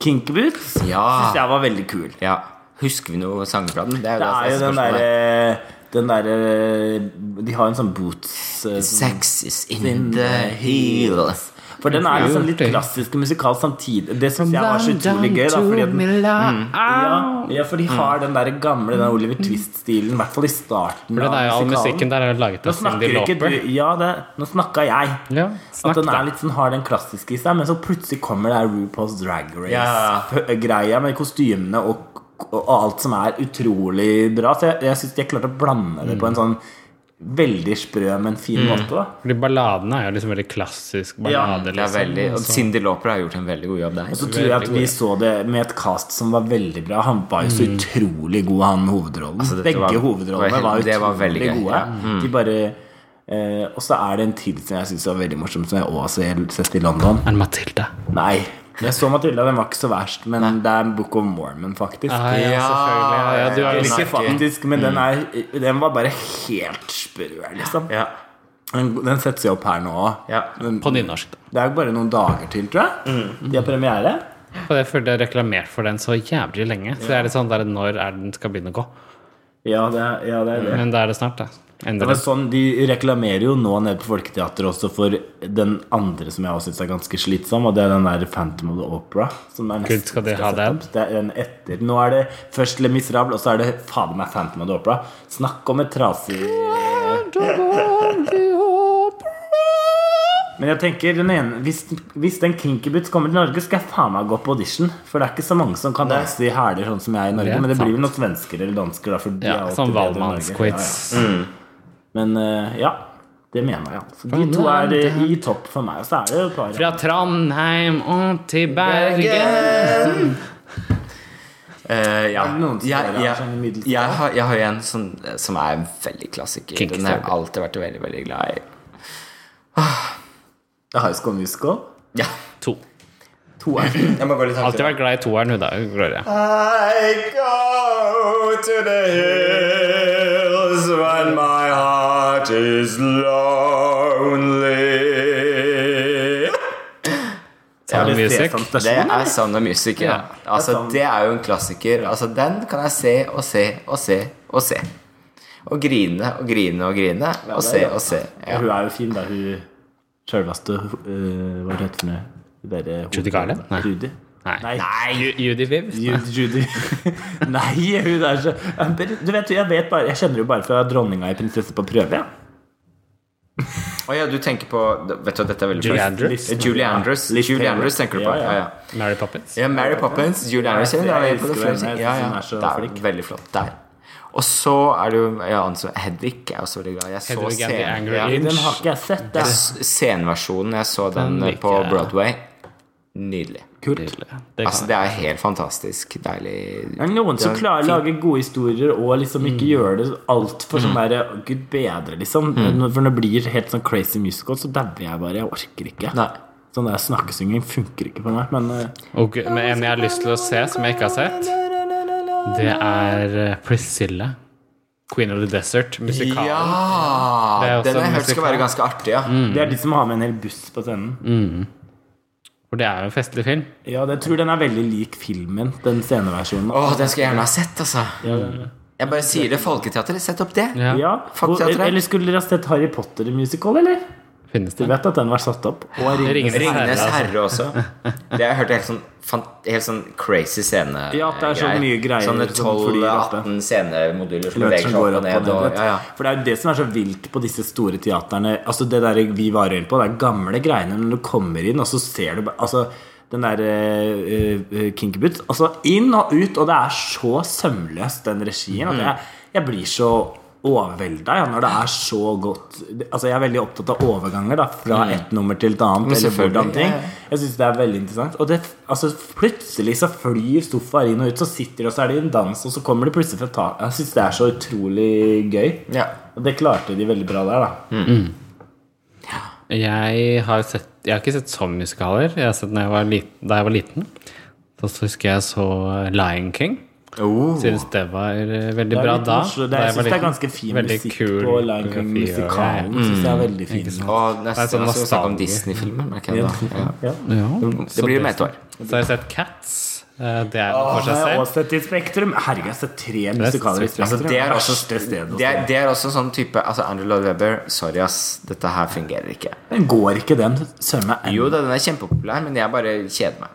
Kinky Boots. Ja. Syns jeg var veldig kul. ja. Husker vi noe sanger fra den? Det er Det jo, er jo den spørsmålet. derre den eh, derre De har en sånn boots eh, Sex is in the heels. For den er liksom litt Gjort det. klassisk og musikalsk samtidig. Det syns jeg var så utrolig gøy. Da, fordi at den, Mm. ja, ja, for de Mm. har den der gamle den Oliver Twist-stilen, i hvert fall i starten. For den er jo all musikken der er laget Nå av snakker Cindy ikke du Lauper. Ja, det, nå snakka jeg. Ja, At snakk, den da. er litt sånn, har den klassiske i seg, men så plutselig kommer det her RuPaul's Drag Ja. Race-greia med kostymene og, og alt som er utrolig bra. Så jeg, jeg syns de har klart å blande det på en Mm. sånn veldig sprø, men fin måte. da Fordi balladene er jo liksom veldig klassisk Ja, ballade. liksom. Det er liksom veldig, og Cindy Lauper har gjort en veldig god jobb der. Så tror jeg at vi så det med et cast som var veldig bra. Han var jo så utrolig god, han hovedrollen. Mm. Altså, dette Begge var- hovedrollene var det utrolig var veldig gøy, gode. ja. Mm. De bare eh, Og så er det en til som jeg syns var veldig morsom, som jeg også har sett i London. Er det Matilda? Nei. Jeg så Matilda, den var ikke så verst, men det er Book of Mormon, faktisk. Ah, ja, Ja, selvfølgelig. Ja, du er ja, Eller liksom ikke snakker. faktisk, men den, er, den var bare helt sprø, liksom. Mm. Ja. Den, den setter seg opp her nå òg. Ja. på nynorsk, da. Det er jo bare noen dager til, tror jeg. Mm. De har premiere. Og jeg føler jeg har reklamert for den så jævlig lenge. Så det er litt sånn der når er den skal begynne å gå. Ja, det er, ja, det, er det. Men da er det snart, da. Det var Endelig. sånn, De reklamerer jo nå nede på Folketeatret også for den andre som jeg også syns er ganske slitsom, og det er den der Phantom of the Opera. Som er nesten- Gud, skal de ha sette den? opp. Det er en etter. Nå er det først Le Miserable, og så er det fader meg Phantom of the Opera. Snakk om et trasig Men jeg tenker, den ene, hvis, hvis den Kinky Boots kommer til Norge, skal jeg faen meg gå på audition. For det er ikke så mange som kan danse i hæler sånn som jeg i Norge. Det er Men det blir sant. vel noen svensker eller dansker. Da, for de Ja, er alltid sånn bedre enn Norge. Ja, Valmannsquiz. ja. Men eh, ja, det mener jeg. Altså. De Faen, to er det er- eh, i topp for meg. Og så er det jo et par Fra Trondheim og til Bergen. Eh, ja. Er det noen som Jeg, er jeg, sånn i middeltid? jeg, har, jeg har jo en som, som er en veldig klassiker. Kinky Den har jeg Saber. alltid vært veldig, veldig glad i. High School Musical. Ja. To. To er Jeg må gå litt Alltid vært glad i toeren, hun da. Gloria. I go to the hills when my heart is lonely. Sound of det Music. Sesam Det Stasjon. er Sound of Music, ja. Ja, det er Altså, Sound. det er jo en klassiker. Altså, den kan jeg se og se og se og se. Og grine og grine og grine og se og se. Ja. Hun er jo fin, da. Hun sjølveste uh, Hva heter hun? Hun derre- Judy Garland? Nei. Judy. Nei. Nei. Ju- Judy Viv. Judy, Judy. Nei, hun er så Du vet, jeg, vet bare, jeg kjenner jo bare fra dronninga i 'Prinsesse på prøve'. Å ja, du tenker på Vet du hva, dette er veldig Julie bra. Andrews. Eh, Julie Andrews. Litt Julie Taylor. Andrews tenker du på. Ja, ja. Ja, ja. Mary Poppins. ja Mary Poppins. Julie Andrews. jeg Ja, jeg er elsker på det henne. flere. Jeg Ja, synes hun er ja. så Det er flink. veldig flott. Der. Og så er det jo ja, han som Hedvig er også veldig glad. Jeg så Hedvig and the scenen- Angry ja. Inch. Den har ikke jeg sett. Det Jeg er s- Scenversjonen. Jeg så den, Den eh, på liker jeg. Broadway. Nydelig. kult. Nydelig. Det Altså, kan det er helt fantastisk deilig Det er noen som Det er klarer å fint. lage Mm. gode historier og liksom ikke gjøre det altfor sånn der Gud bedre, liksom. For når det blir helt sånn crazy musical, så dauer jeg bare. Jeg orker ikke. Nei. Sånn der snakkesynging funker ikke på meg. Men eh, Og med en jeg har lyst til å se, som jeg ikke har sett, det er eh, Priscilla. Queen of the Desert, musikalen. Det er Ja! også Den har jeg en hørt skal være musikal. ganske artig, ja. det er de som har med en hel buss på scenen. Mm. For det er jo en festlig film. Ja, jeg tror den er veldig lik filmen, den sceneversjonen. Å, den skal jeg gjerne ha sett, altså. Jeg bare sier det. Folketeatret, sett opp det. Ja. Ja, hvor, Folketeatret. Eller skulle dere ha sett Harry Potter-musical, eller? Finnes Du det? vet at den var satt opp. Og Ringenes Ringenes Herre. Ringenes altså. herre også. Det har jeg hørt er helt sånn, fan- helt sånn crazy scene. Sånn Ja, det er så mye greier Sånne som flyr oppe. 12-18 scenemoduler som Løp beveger som seg går opp og opp og ned. Og, ned. ja, ja. For det er jo det som er så vilt på disse store teaterne. Altså Det der vi var inne på, det er gamle greiene når du kommer inn, og så ser du bare altså, den der uh, Kinky Boots. Altså inn og ut, og det er så sømløst, den regien. At jeg, jeg blir så overvelda ja, når det er så godt Altså Jeg er veldig opptatt av overganger da fra ett nummer til et annet. Eller Mm. selvfølgelig, hvordan ting ja, ja. Jeg synes det er veldig interessant. Og det, altså, plutselig så flyr sofaer inn og ut, så sitter de, og så er det en dans, og så kommer de plutselig fra taket. Jeg synes det er så utrolig gøy. Ja. Og det klarte de veldig bra der, da. Jeg har, sett, jeg har ikke sett sånne musikaler. Jeg har sett når jeg var liten, da jeg var liten. Da så husker jeg så Lion King. Oh. Synes det var eh, veldig Det er bra litt da. morsomt. Det, da jeg var synes det er liten. ganske fin Veldig musikk kul på Lion King. koreografi og- Musikalen synes jeg er veldig fin. Og neste Det er sånn gang skal vi snakke om nostalgi. Mm. Disney-filmer. merker jeg da. Ja. Ja. Ja, Det blir jo med et år. Så har jeg sett Cats. Eh, Det er noe for seg selv. Åstedt i Spektrum. Herregud, jeg har sett tre musikaler i Altså, Spektrum. det, er også, Verste stedet å det, er, se. det er også en sånn type altså Andrew Lloyd Webber, sorry ass, dette her fungerer ikke. Den går ikke, den. Sømme Jo da, den er kjempepopulær, men jeg bare kjeder meg.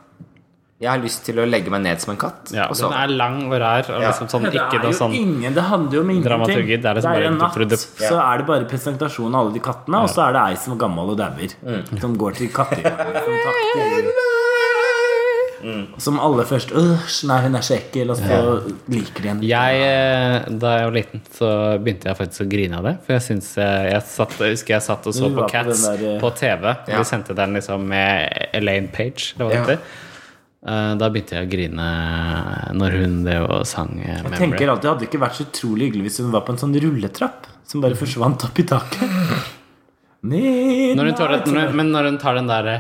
Jeg har lyst til å legge meg ned som en katt. Ja, og den sove. er lang og rar. Og Ja. liksom sånn, Ja, det ikke er noe jo sånn ingen, det handler jo om ingenting. dramaturgi, det er liksom bare en natt, dupp-dupp. så er det bare presentasjon av alle de kattene, og så er det ei som er gammel og dauer. Mm. Som går til kattegården. som takter. Som alle først Æsj, nei, hun er så ekkel. Og så liker de henne. jeg, eh, Da jeg var liten, så begynte jeg faktisk å grine av det. For jeg syns eh, jeg, jeg, satt, jeg husker jeg satt og så Du på var på den Cats der, eh, på TV. Ja. Vi sendte den liksom med Elaine Page. Det var Ja. det. Eh, Da begynte jeg å grine eh, når hun det og sang eh, Jeg Memory. tenker alltid Hadde det ikke vært så utrolig hyggelig hvis hun var på en sånn rulletrapp som bare forsvant opp i taket? Når hun tar den, når, hun- men når hun tar den derre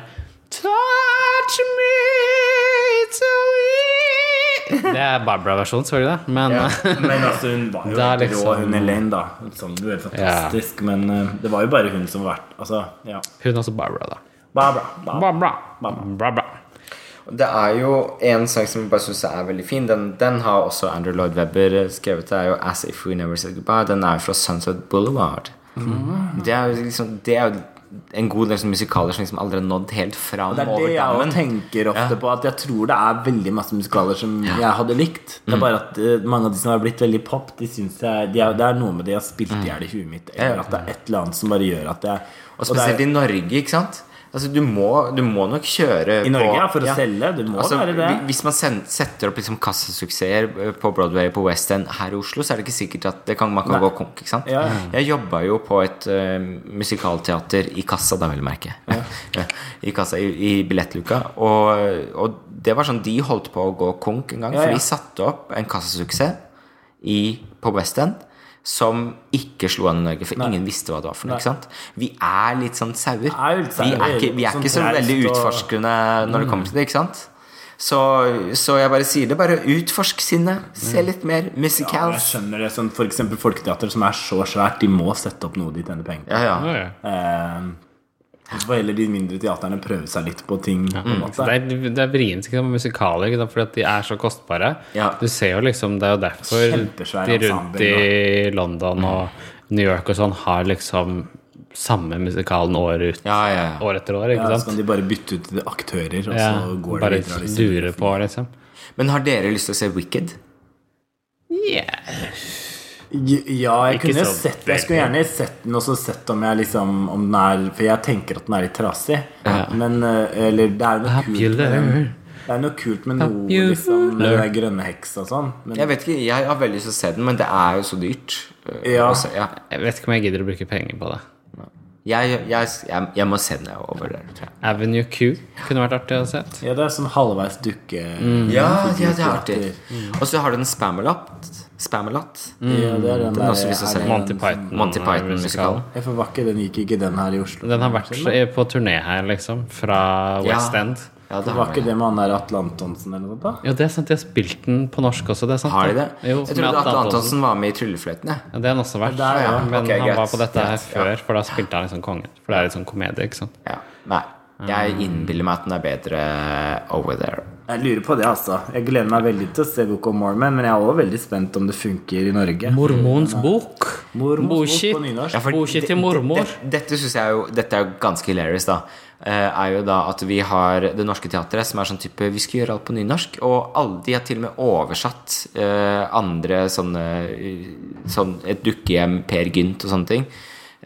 Touch me to eat Det er Barbara-versjonen, så du det? Men Men altså, hun var jo Det er helt rå, liksom- hun Elaine, da. Sånn, du er fantastisk. Men eh, det var jo bare hun som var Altså, ja. hun er også Barbara, da. Barbara. Barbara. Barbara. Barbara. Barbara. Det er jo en sang som jeg bare syns er veldig fin. Den, den har også Andrew Lloyd Webber skrevet. Det er jo As If We Never Said Goodbye. Den er jo fra Sunset Boulevard. Mm. Det er jo liksom Det er jo en god del sånne musikaler som liksom aldri har nådd helt fram Det er over det jeg dammen. også tenker ofte på. At jeg tror det er veldig masse musikaler som jeg hadde likt. Det er bare at eh, mange av de som har blitt veldig pop, de synes jeg, de er, det er noe med det jeg har spilt i hjel i huet mitt. Eller at det er et eller annet som bare gjør at jeg Og og det spesielt er, i Norge, ikke sant? Altså, du må, du må nok kjøre I Norge, på, ja, for å selge. Det må Altså, være det. hvi- Hvis man sen- setter opp liksom kassesuksesser eh, på Broadway på West End her i Oslo, så er det ikke sikkert at det kan, man kan gå konk. ikke sant? Ja. Jeg jobba jo på et eh, musikalteater i kassa, da vil jeg merke. I kassa, i, i billettluka. Og, og det var sånn, de holdt på å gå konk en gang, Ja, ja. for de satte opp en kassasuksess i, på West End som ikke slo an i Norge, for ingen visste hva det var for noe. ikke sant? Vi er litt sånn sauer. Er jo litt Vi er sauer, ikke, vi er sånn ikke så traust veldig og- utforskende når det kommer til det, ikke sant? Så, så jeg bare sier det. Bare utforsk sinnet. Se litt mer Ja, jeg musicals. skjønner det. Sånn, for eksempel Folketeater, som er så svært, de må sette opp noe de tjener penger på. Ja, ja. Ja, ja. Eh, så får heller de mindre teaterne prøve seg litt på ting. På en måte. Så Det er, det er vrient ikke sant, med musikaler, ikke sant, fordi at de er så kostbare. Ja. Du ser jo liksom, Det er jo derfor Kjempesvær de rundt ensemble, i London og New York og sånn har liksom samme musikalen år, ut, ja, ja, ja. år etter år. Ja, ikke så kan sant? de bare bytte ut aktører, og Ja, så går det bare videre. liksom. durer på, liksom. Men har dere lyst til å se Wicked? Ja, jeg Ikke kunne så sett Jeg skulle gjerne sett den og så sett om jeg liksom om den er For jeg tenker at den er litt trasig. Men eh, Eller det er noe kult med den. Popular. Det er noe kult med noe Popular. liksom med den der grønne heksa og sånn. Men Jeg vet ikke, jeg har veldig lyst til å se den, men det er jo så dyrt. Eh, Ja. altså, ja. Jeg vet ikke om jeg gidder å bruke penger på det. Jeg, jeg, jeg, jeg må se den jeg er over der, tror jeg. Avenue Q kunne vært artig å se. ja, det er sånn halvveis dukke... Mm. Ja, ja, det er teater. artig. Og så har du en Spamalot. Spamalot. Ja, det er den Den har også lyst til å Mm. se. er det Monty en- Python. uh, Monty Python-musikalen. Jeg får vakke, den gikk ikke den her i Oslo. Den har vært så- på turné her, liksom. Fra Ja. West End. Ja, det Var har, ikke de. det med han der Atle Antonsen eller noe sånt? da? Jo, det er sant. De har spilt den på norsk også. Det er sant, har de det? Jo, jeg med trodde Atle Atle Antonsen var med i Tryllefløyten. jeg. Ja, det har han også vært. Der, ja. Men Ok, han greit. var på dette her Greit, før, for da spilte han liksom kongen. For det er litt sånn komedie, ikke sant. Ja. Nei. Mm. Jeg innbiller meg at den er bedre over there. Jeg lurer på det, altså. Jeg gleder meg veldig til å se Book of Mormon, men jeg er også veldig spent om det funker i Norge. Mormons bok. Mormons bok Mm. på nynorsk. Ja, for Bullshit det- til mormor. det- det- Dette synes jeg jo Dette er jo ganske hilarious, da. Eh, Er jo da at vi har Det Norske Teatret, som er sånn type Vi skal gjøre alt på nynorsk. Og alle de har til og med oversatt eh, andre sånne eh, Sånn Et dukkehjem, Per Gynt og sånne ting,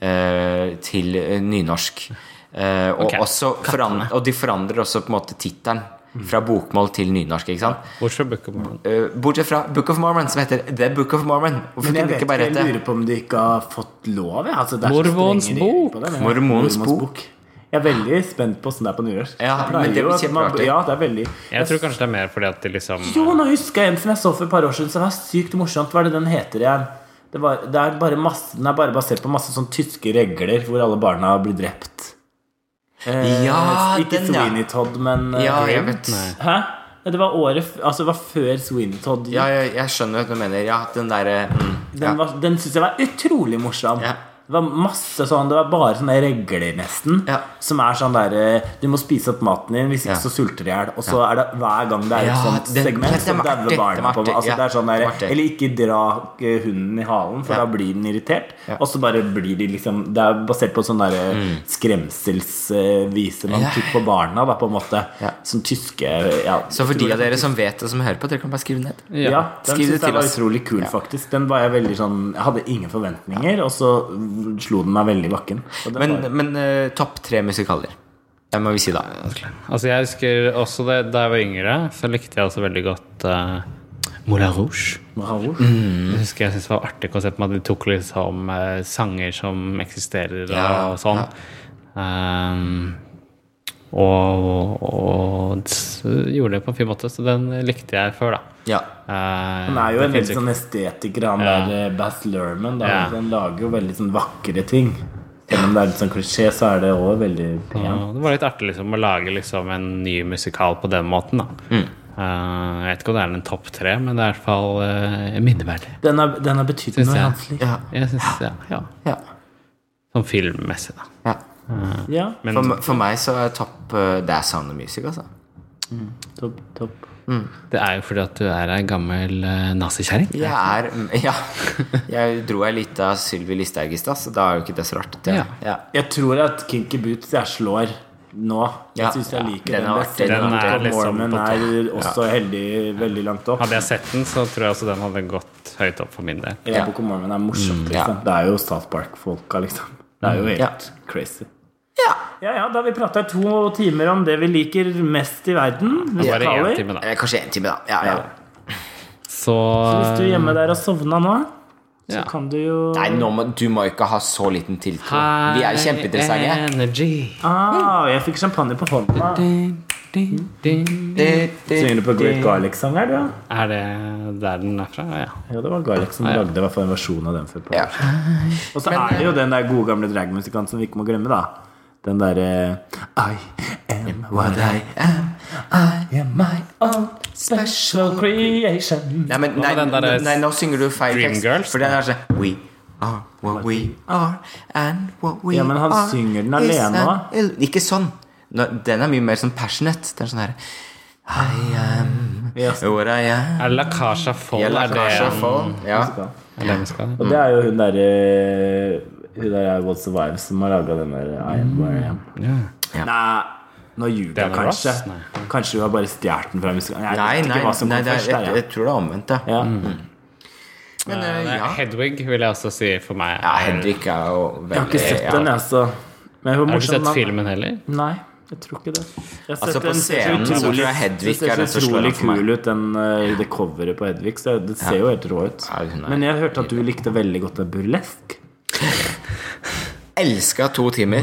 eh, til eh, nynorsk. Eh, og, Ok. også foran, og de forandrer også på en måte tittelen Mm. fra bokmål til nynorsk, ikke sant? Bortsett fra Book of Mormon. Eh, Bortsett fra Book of Mormon, som heter The Book of Mormon. Hvorfor Men jeg vet kunne det ikke ikke, bare jeg hete lurer på om de ikke har fått lov. jeg. Altså, det er så Mormons strenge regler bok. på det, men- Mormons bok. Jeg er veldig spent på åssen det er på nynorsk. Ja, Jeg men pleier det jo blir at man- kjempeartig. Ja, det er veldig Jeg tror kanskje det er mer fordi at de liksom Jo, nå husker jeg en som jeg så for et par år siden, som var sykt morsomt. Hva er det den heter igjen? Det, var, det er bare masse, den er bare basert på masse sånn tyske regler hvor alle barna blir drept. Eh, Ja, ikke den, ja. Sweeney Todd, men eh, Ja, jeg vet. Hæ? Ja, Det var året f- Altså, det var før Sweeney Todd. gikk. Ja, jeg, jeg skjønner hva du mener. Ja, den derre mm, Den, ja. var- den syns jeg var utrolig morsom. Ja. Det var masse sånn, det var bare sånne regler nesten. Ja. Som er sånn der eh, Du må spise opp maten din, hvis ikke Ja. så sulter du i hjel. Og så er det hver gang det er et Ja, sånt den- segment, den- så den var artig, dauer den barna var på artig, altså, ja, det er sånn den der, var artig. Eller ikke dra eh, hunden i halen, for Ja. da blir den irritert. Ja. Mm. Og så bare blir de liksom Det er basert på sånn derre skremselsvise man Ja. tok på barna, da, på en måte. Ja. Som tyske ja, Så for de tror av jeg- dere som vet det, som hører på, dere kan bare skrive ned. ja, den Skriv synes jeg det til var oss. utrolig kul, faktisk. Den var jeg veldig sånn Jeg hadde ingen forventninger, og så mm, slo den meg veldig i bakken. Og den Men, var, men eh, topp tre musikaler. Det må vi si, da. Altså, jeg husker også det da jeg var yngre, så likte jeg også veldig godt eh, Moulin Rouge. Bravo. Jeg husker jeg syntes det var artig konsept med at de tok liksom eh, sanger som eksisterer og, Ja, og sånn. ja. Ehm, og, og s- gjorde det på en fin måte, så den likte jeg før, da. Ja. Eh, Han er jo det en finnes veldig ikke- sånn estetiker, han Ja. der eh, Baz Luhrmann. Da. Ja. Han lager jo veldig sånn vakre ting. Selv om det er litt sånn klisjé, så er det òg veldig pent. Ja, det var litt artig liksom, å lage liksom, en ny musikal på den måten. Da. Mm. Eh, jeg vet ikke om det er en topp tre, men det er i hvert fall uh, minneverdig. Den har, den har betydd Synes noe i jeg. hans liv. Ja. Jeg synes, ja, ja. ja. Sånn filmmessig, da. ja. Ja, Men, For, for meg så er topp eh, Det er Sound of Music, altså. topp, topp. det er jo fordi at du er ei gammel uh, nazikjerring. Jeg er Ja. Jeg dro ei lita Sylvi Listhaug i stad, så da er jo ikke det så rart. at jeg- Ja. Ja. Jeg tror at Kinky Boots jeg slår nå. Ja. Jeg syns jeg Ja. liker Den den, er best. artig, den Selv om er Tom liksom Mormon på er også heldig veldig langt opp. Hadde jeg sett den, så tror jeg også den hadde gått høyt opp for min del. Ja, Book of Mormon er morsomt, ja. liksom. Det er jo South Park-folka, liksom. Det er jo helt Ja. crazy. ja. Ja, ja, da har vi prata i to timer om det vi liker mest i verden. Hvis, Bare én time, da. Eh, Kanskje én time, da. Ja, ja. Så hvis du er hjemme der og sovna nå, så Ja. kan du jo Nei, nå må, du må ikke ha så liten tiltro. Vi er jo kjempeinteressante. Energy. ah, Jeg fikk champagne på hånda. Din, din, din. Synger du på Great Garlic-sang her, du? ja? Er det der den er fra? Ja. Ja, det var Garlic som lagde i hvert fall en versjon av den. for et par Ja. år siden. Og så er det jo den der gode gamle dragmusikanten som vi ikke må glemme, da. Den derre I am what I am. I am my own special creation. Nei, men, nei, med den der, eh, nei, nå synger du feil Dreamgirls? tekst. For den er sånn We are what we are, and what we are Ja, men han synger den is alene an også. ill- Ikke sånn. Nå, den er mye mer sånn passionate. Den er sånn her I am Yes. what I am. Er La Casa Fall Jeg er lar det kanskje en- få Ja. er det vi skal? Og det Mm. er jo hun derre Hun der er What's the Vibe som har laga den der eh, I am where I am. Mm, Ja. Nei, nå ljuger jeg Diana Ross? kanskje. Nei. Kanskje hun har bare stjålet den fra musikalen. Jeg Nei, vet nei, ikke hva som nei kom det er, først jeg, der. jeg tror det er omvendt, Ja. ja. Ja. Mm. Men Det eh, er ja. Hedwig vil jeg også si for meg. ja Henrik er jo veldig Jeg har ikke sett ja. den, jeg, altså. Men hun er Har du ikke morsom, sett da. filmen heller? Nei, jeg tror ikke det. Jeg har Altså, sett på den- det ser scenen så utrolig- tror jeg Hedvig er den Det som ser slår så utrolig an for meg. kul ut, den, eh, det coveret på Hedvig. Så det ser jo helt rå ut. Ja, hun er- Men jeg hørte at du likte veldig godt den burlesk. Elska to timer.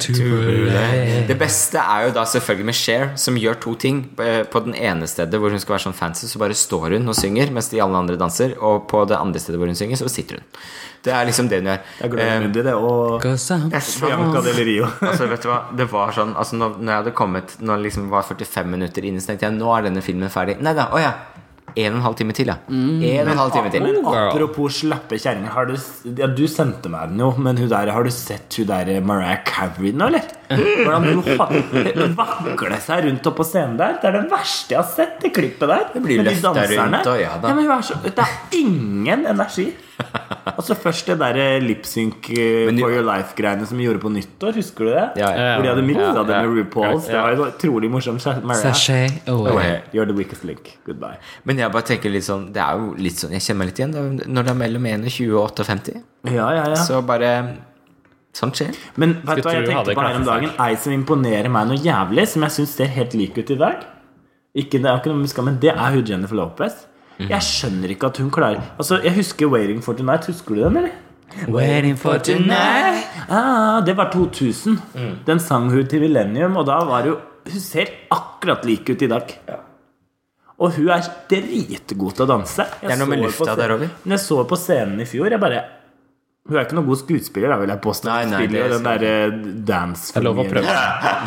Det beste er jo da selvfølgelig med Cher, som gjør to ting. Eh, På den ene stedet hvor hun skal være sånn fancy, så bare står hun og synger, mens de alle andre danser. Og på det andre stedet hvor hun synger, så sitter hun. Det er liksom det hun gjør. Jeg gleder meg til det. Og Eh, Bianca Del Rio. Altså, vet du hva? Det var sånn altså, når, når jeg hadde kommet Når det liksom var 45 minutter inne, så tenkte jeg nå er denne filmen ferdig. Nei da, å ja. En og en halv time til, ja. En og en halv time til. Men girl. apropos slappe kjerringer, har du s- ja, du sendte meg den jo, men hun der, har du sett hun der eh, Mariah Carey nå, eller? Hvordan hun ha- vakler seg rundt oppe på scenen der. Det er det verste jeg har sett, det klippet der. Det blir Med de løftet danserne. rundt, og ja da. men hun er så, det er ingen energi. Og så først det derre lipsync eh, Men du- for your life-greiene som vi gjorde på nyttår, husker du det? Ja, ja, ja. Hvor de hadde miksa Ja, det med ja. RuPauls. Det var jo utrolig morsomt. Mariah, away. you're the weakest link. Goodbye. Men jeg bare tenker litt sånn Det er jo litt sånn Jeg kjenner meg litt igjen. Det er jo når det er mellom 21 og 58, Ja, ja, ja. så bare Sånn skjer. Men vet du hva tro jeg hun hadde tenkte på her om dagen? Ei som imponerer meg noe jævlig, som jeg syns ser helt lik ut i dag. Ikke, det er ikke noe med skam, men det er hun Jennifer Lopez. Jeg skjønner ikke at hun klarer Altså, Jeg husker 'Waiting for Tonight'. Husker du den, eller? Waiting for Ah, det var 2000. Den sang hun til Millennium, og da var hun Hun ser akkurat lik ut i dag. Og hun er dritgod til å danse. Jeg Det er noe med så henne på lufta der scenen- over. Når jeg så henne på scenen i fjor, jeg bare Hun er ikke noen god skuespiller, da, vil jeg påstå. Nei, Hun nei, spiller jo det den derre dance er lov å prøve.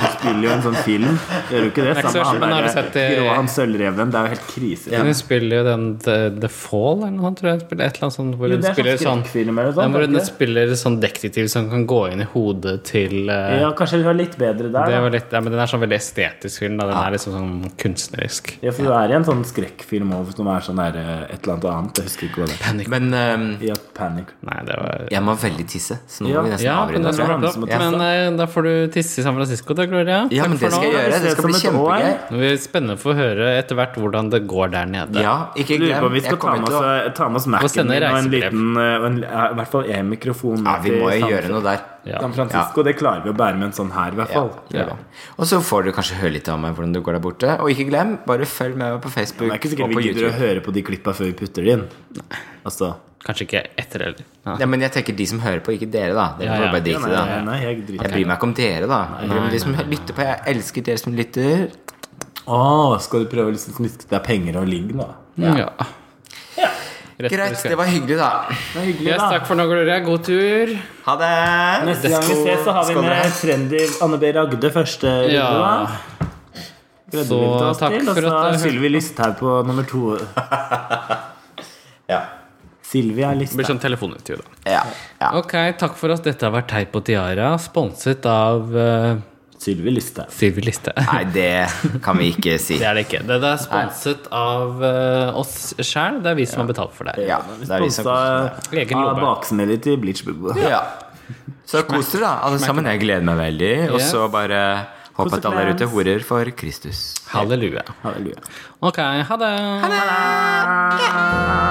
Du spiller jo en sånn film. Gjør du ikke det? er ikke så Samme han sjelden, har du derre sett eh, det- grå han sølvreven. Det er jo helt krise. Hun spiller jo den The, The Fall eller noe sånt, tror jeg. Spiller et eller annet sånt, hvor Jo, hun det er spiller sånn sånn skrekkfilm eller Ja, sånt, er hvor det hun ikke det? spiller sånn detektiv som kan gå inn i hodet til eh, Ja, kanskje hun er litt bedre der. Det da. var litt, ja, men den er sånn veldig estetisk film. Da. Den er liksom sånn kunstnerisk. Ja, for hun er i en sånn skrekkfilm òg, som er sånn der, eh, et eller annet annet. Jeg husker ikke hva det er. Men ehm, Ja, panic. Nei, det var jeg må veldig tisse, så nå Ja. må vi nesten Ja, men, avbryte. den tror jeg. var jeg. flott. men eh, da får du tisse i San Francisco, da, Gloria. Ja, men det Takk for skal jeg nå. gjøre. Det ses skal bli om et år. kjempegøy. Det blir spennende å få høre etter hvert hvordan det går der nede. Ja, ikke Jeg lurer på glem. om vi skal Jeg ta kommer med til å oss, eh, ta med oss Og Mac-en sende min og en reisebrev. liten eh, og en, ja, I hvert fall én mikrofon. Ja, vi eh, til må jo San- gjøre noe der. Ja. San Francisco, det klarer vi å bære med en sånn her, i hvert Ja, fall. gjør det. Og så får du kanskje høre litt om hvordan det går der borte. Og ikke glem, bare følg med meg på Facebook Det er ikke og sikkert på vi gidder å YouTube. høre på de klippa før vi putter det inn. Altså, Kanskje ikke etter heller. Ja. Ja, men jeg tenker de som hører på, ikke dere, da. Dere Ja, får ja. bare ja, drite i nei, det. nei, nei, jeg Jeg driter i det. bryr meg ikke om dere, da. Jeg bryr meg om de som lytter på. Jeg elsker dere som lytter. Å, skal du prøve å liksom sniske deg penger og ligg, da? Mm, Ja. Rett hvor du Greit, skal. det var hyggelig, da. Det er hyggelig, Yes, takk for nå, Gloria. God tur. Ha det! Neste gang vi Skål- ses, så har vi skål dere. med trendy Anne B. Ragde første runde. Ja. da. Gleder Så vi oss takk til, for at Og du så Sylvi Listhaug på nummer to. Ja. Sylvi er Det blir Listhaug. sånn telefonintervju, da. Ja. ja. Ok, takk for oss. Dette har vært Teip og Tiara, sponset av uh, sånn- Sylvi Listhaug. Sylvi Listhaug. Nei, det kan vi ikke si. Det er det ikke. Det det er sponset av eh, oss sjæl. Det er vi som har betalt for det. Ja, det er vi som Sponsa Egen av lomme. baksmellet til Bleachbubba. Ja. Så kos dere, da, alle sammen. Jeg gleder meg veldig. Og så bare håper at alle er ute horer for Kristus. Halleluja. Halleluja. Ok, ha det. Ha det!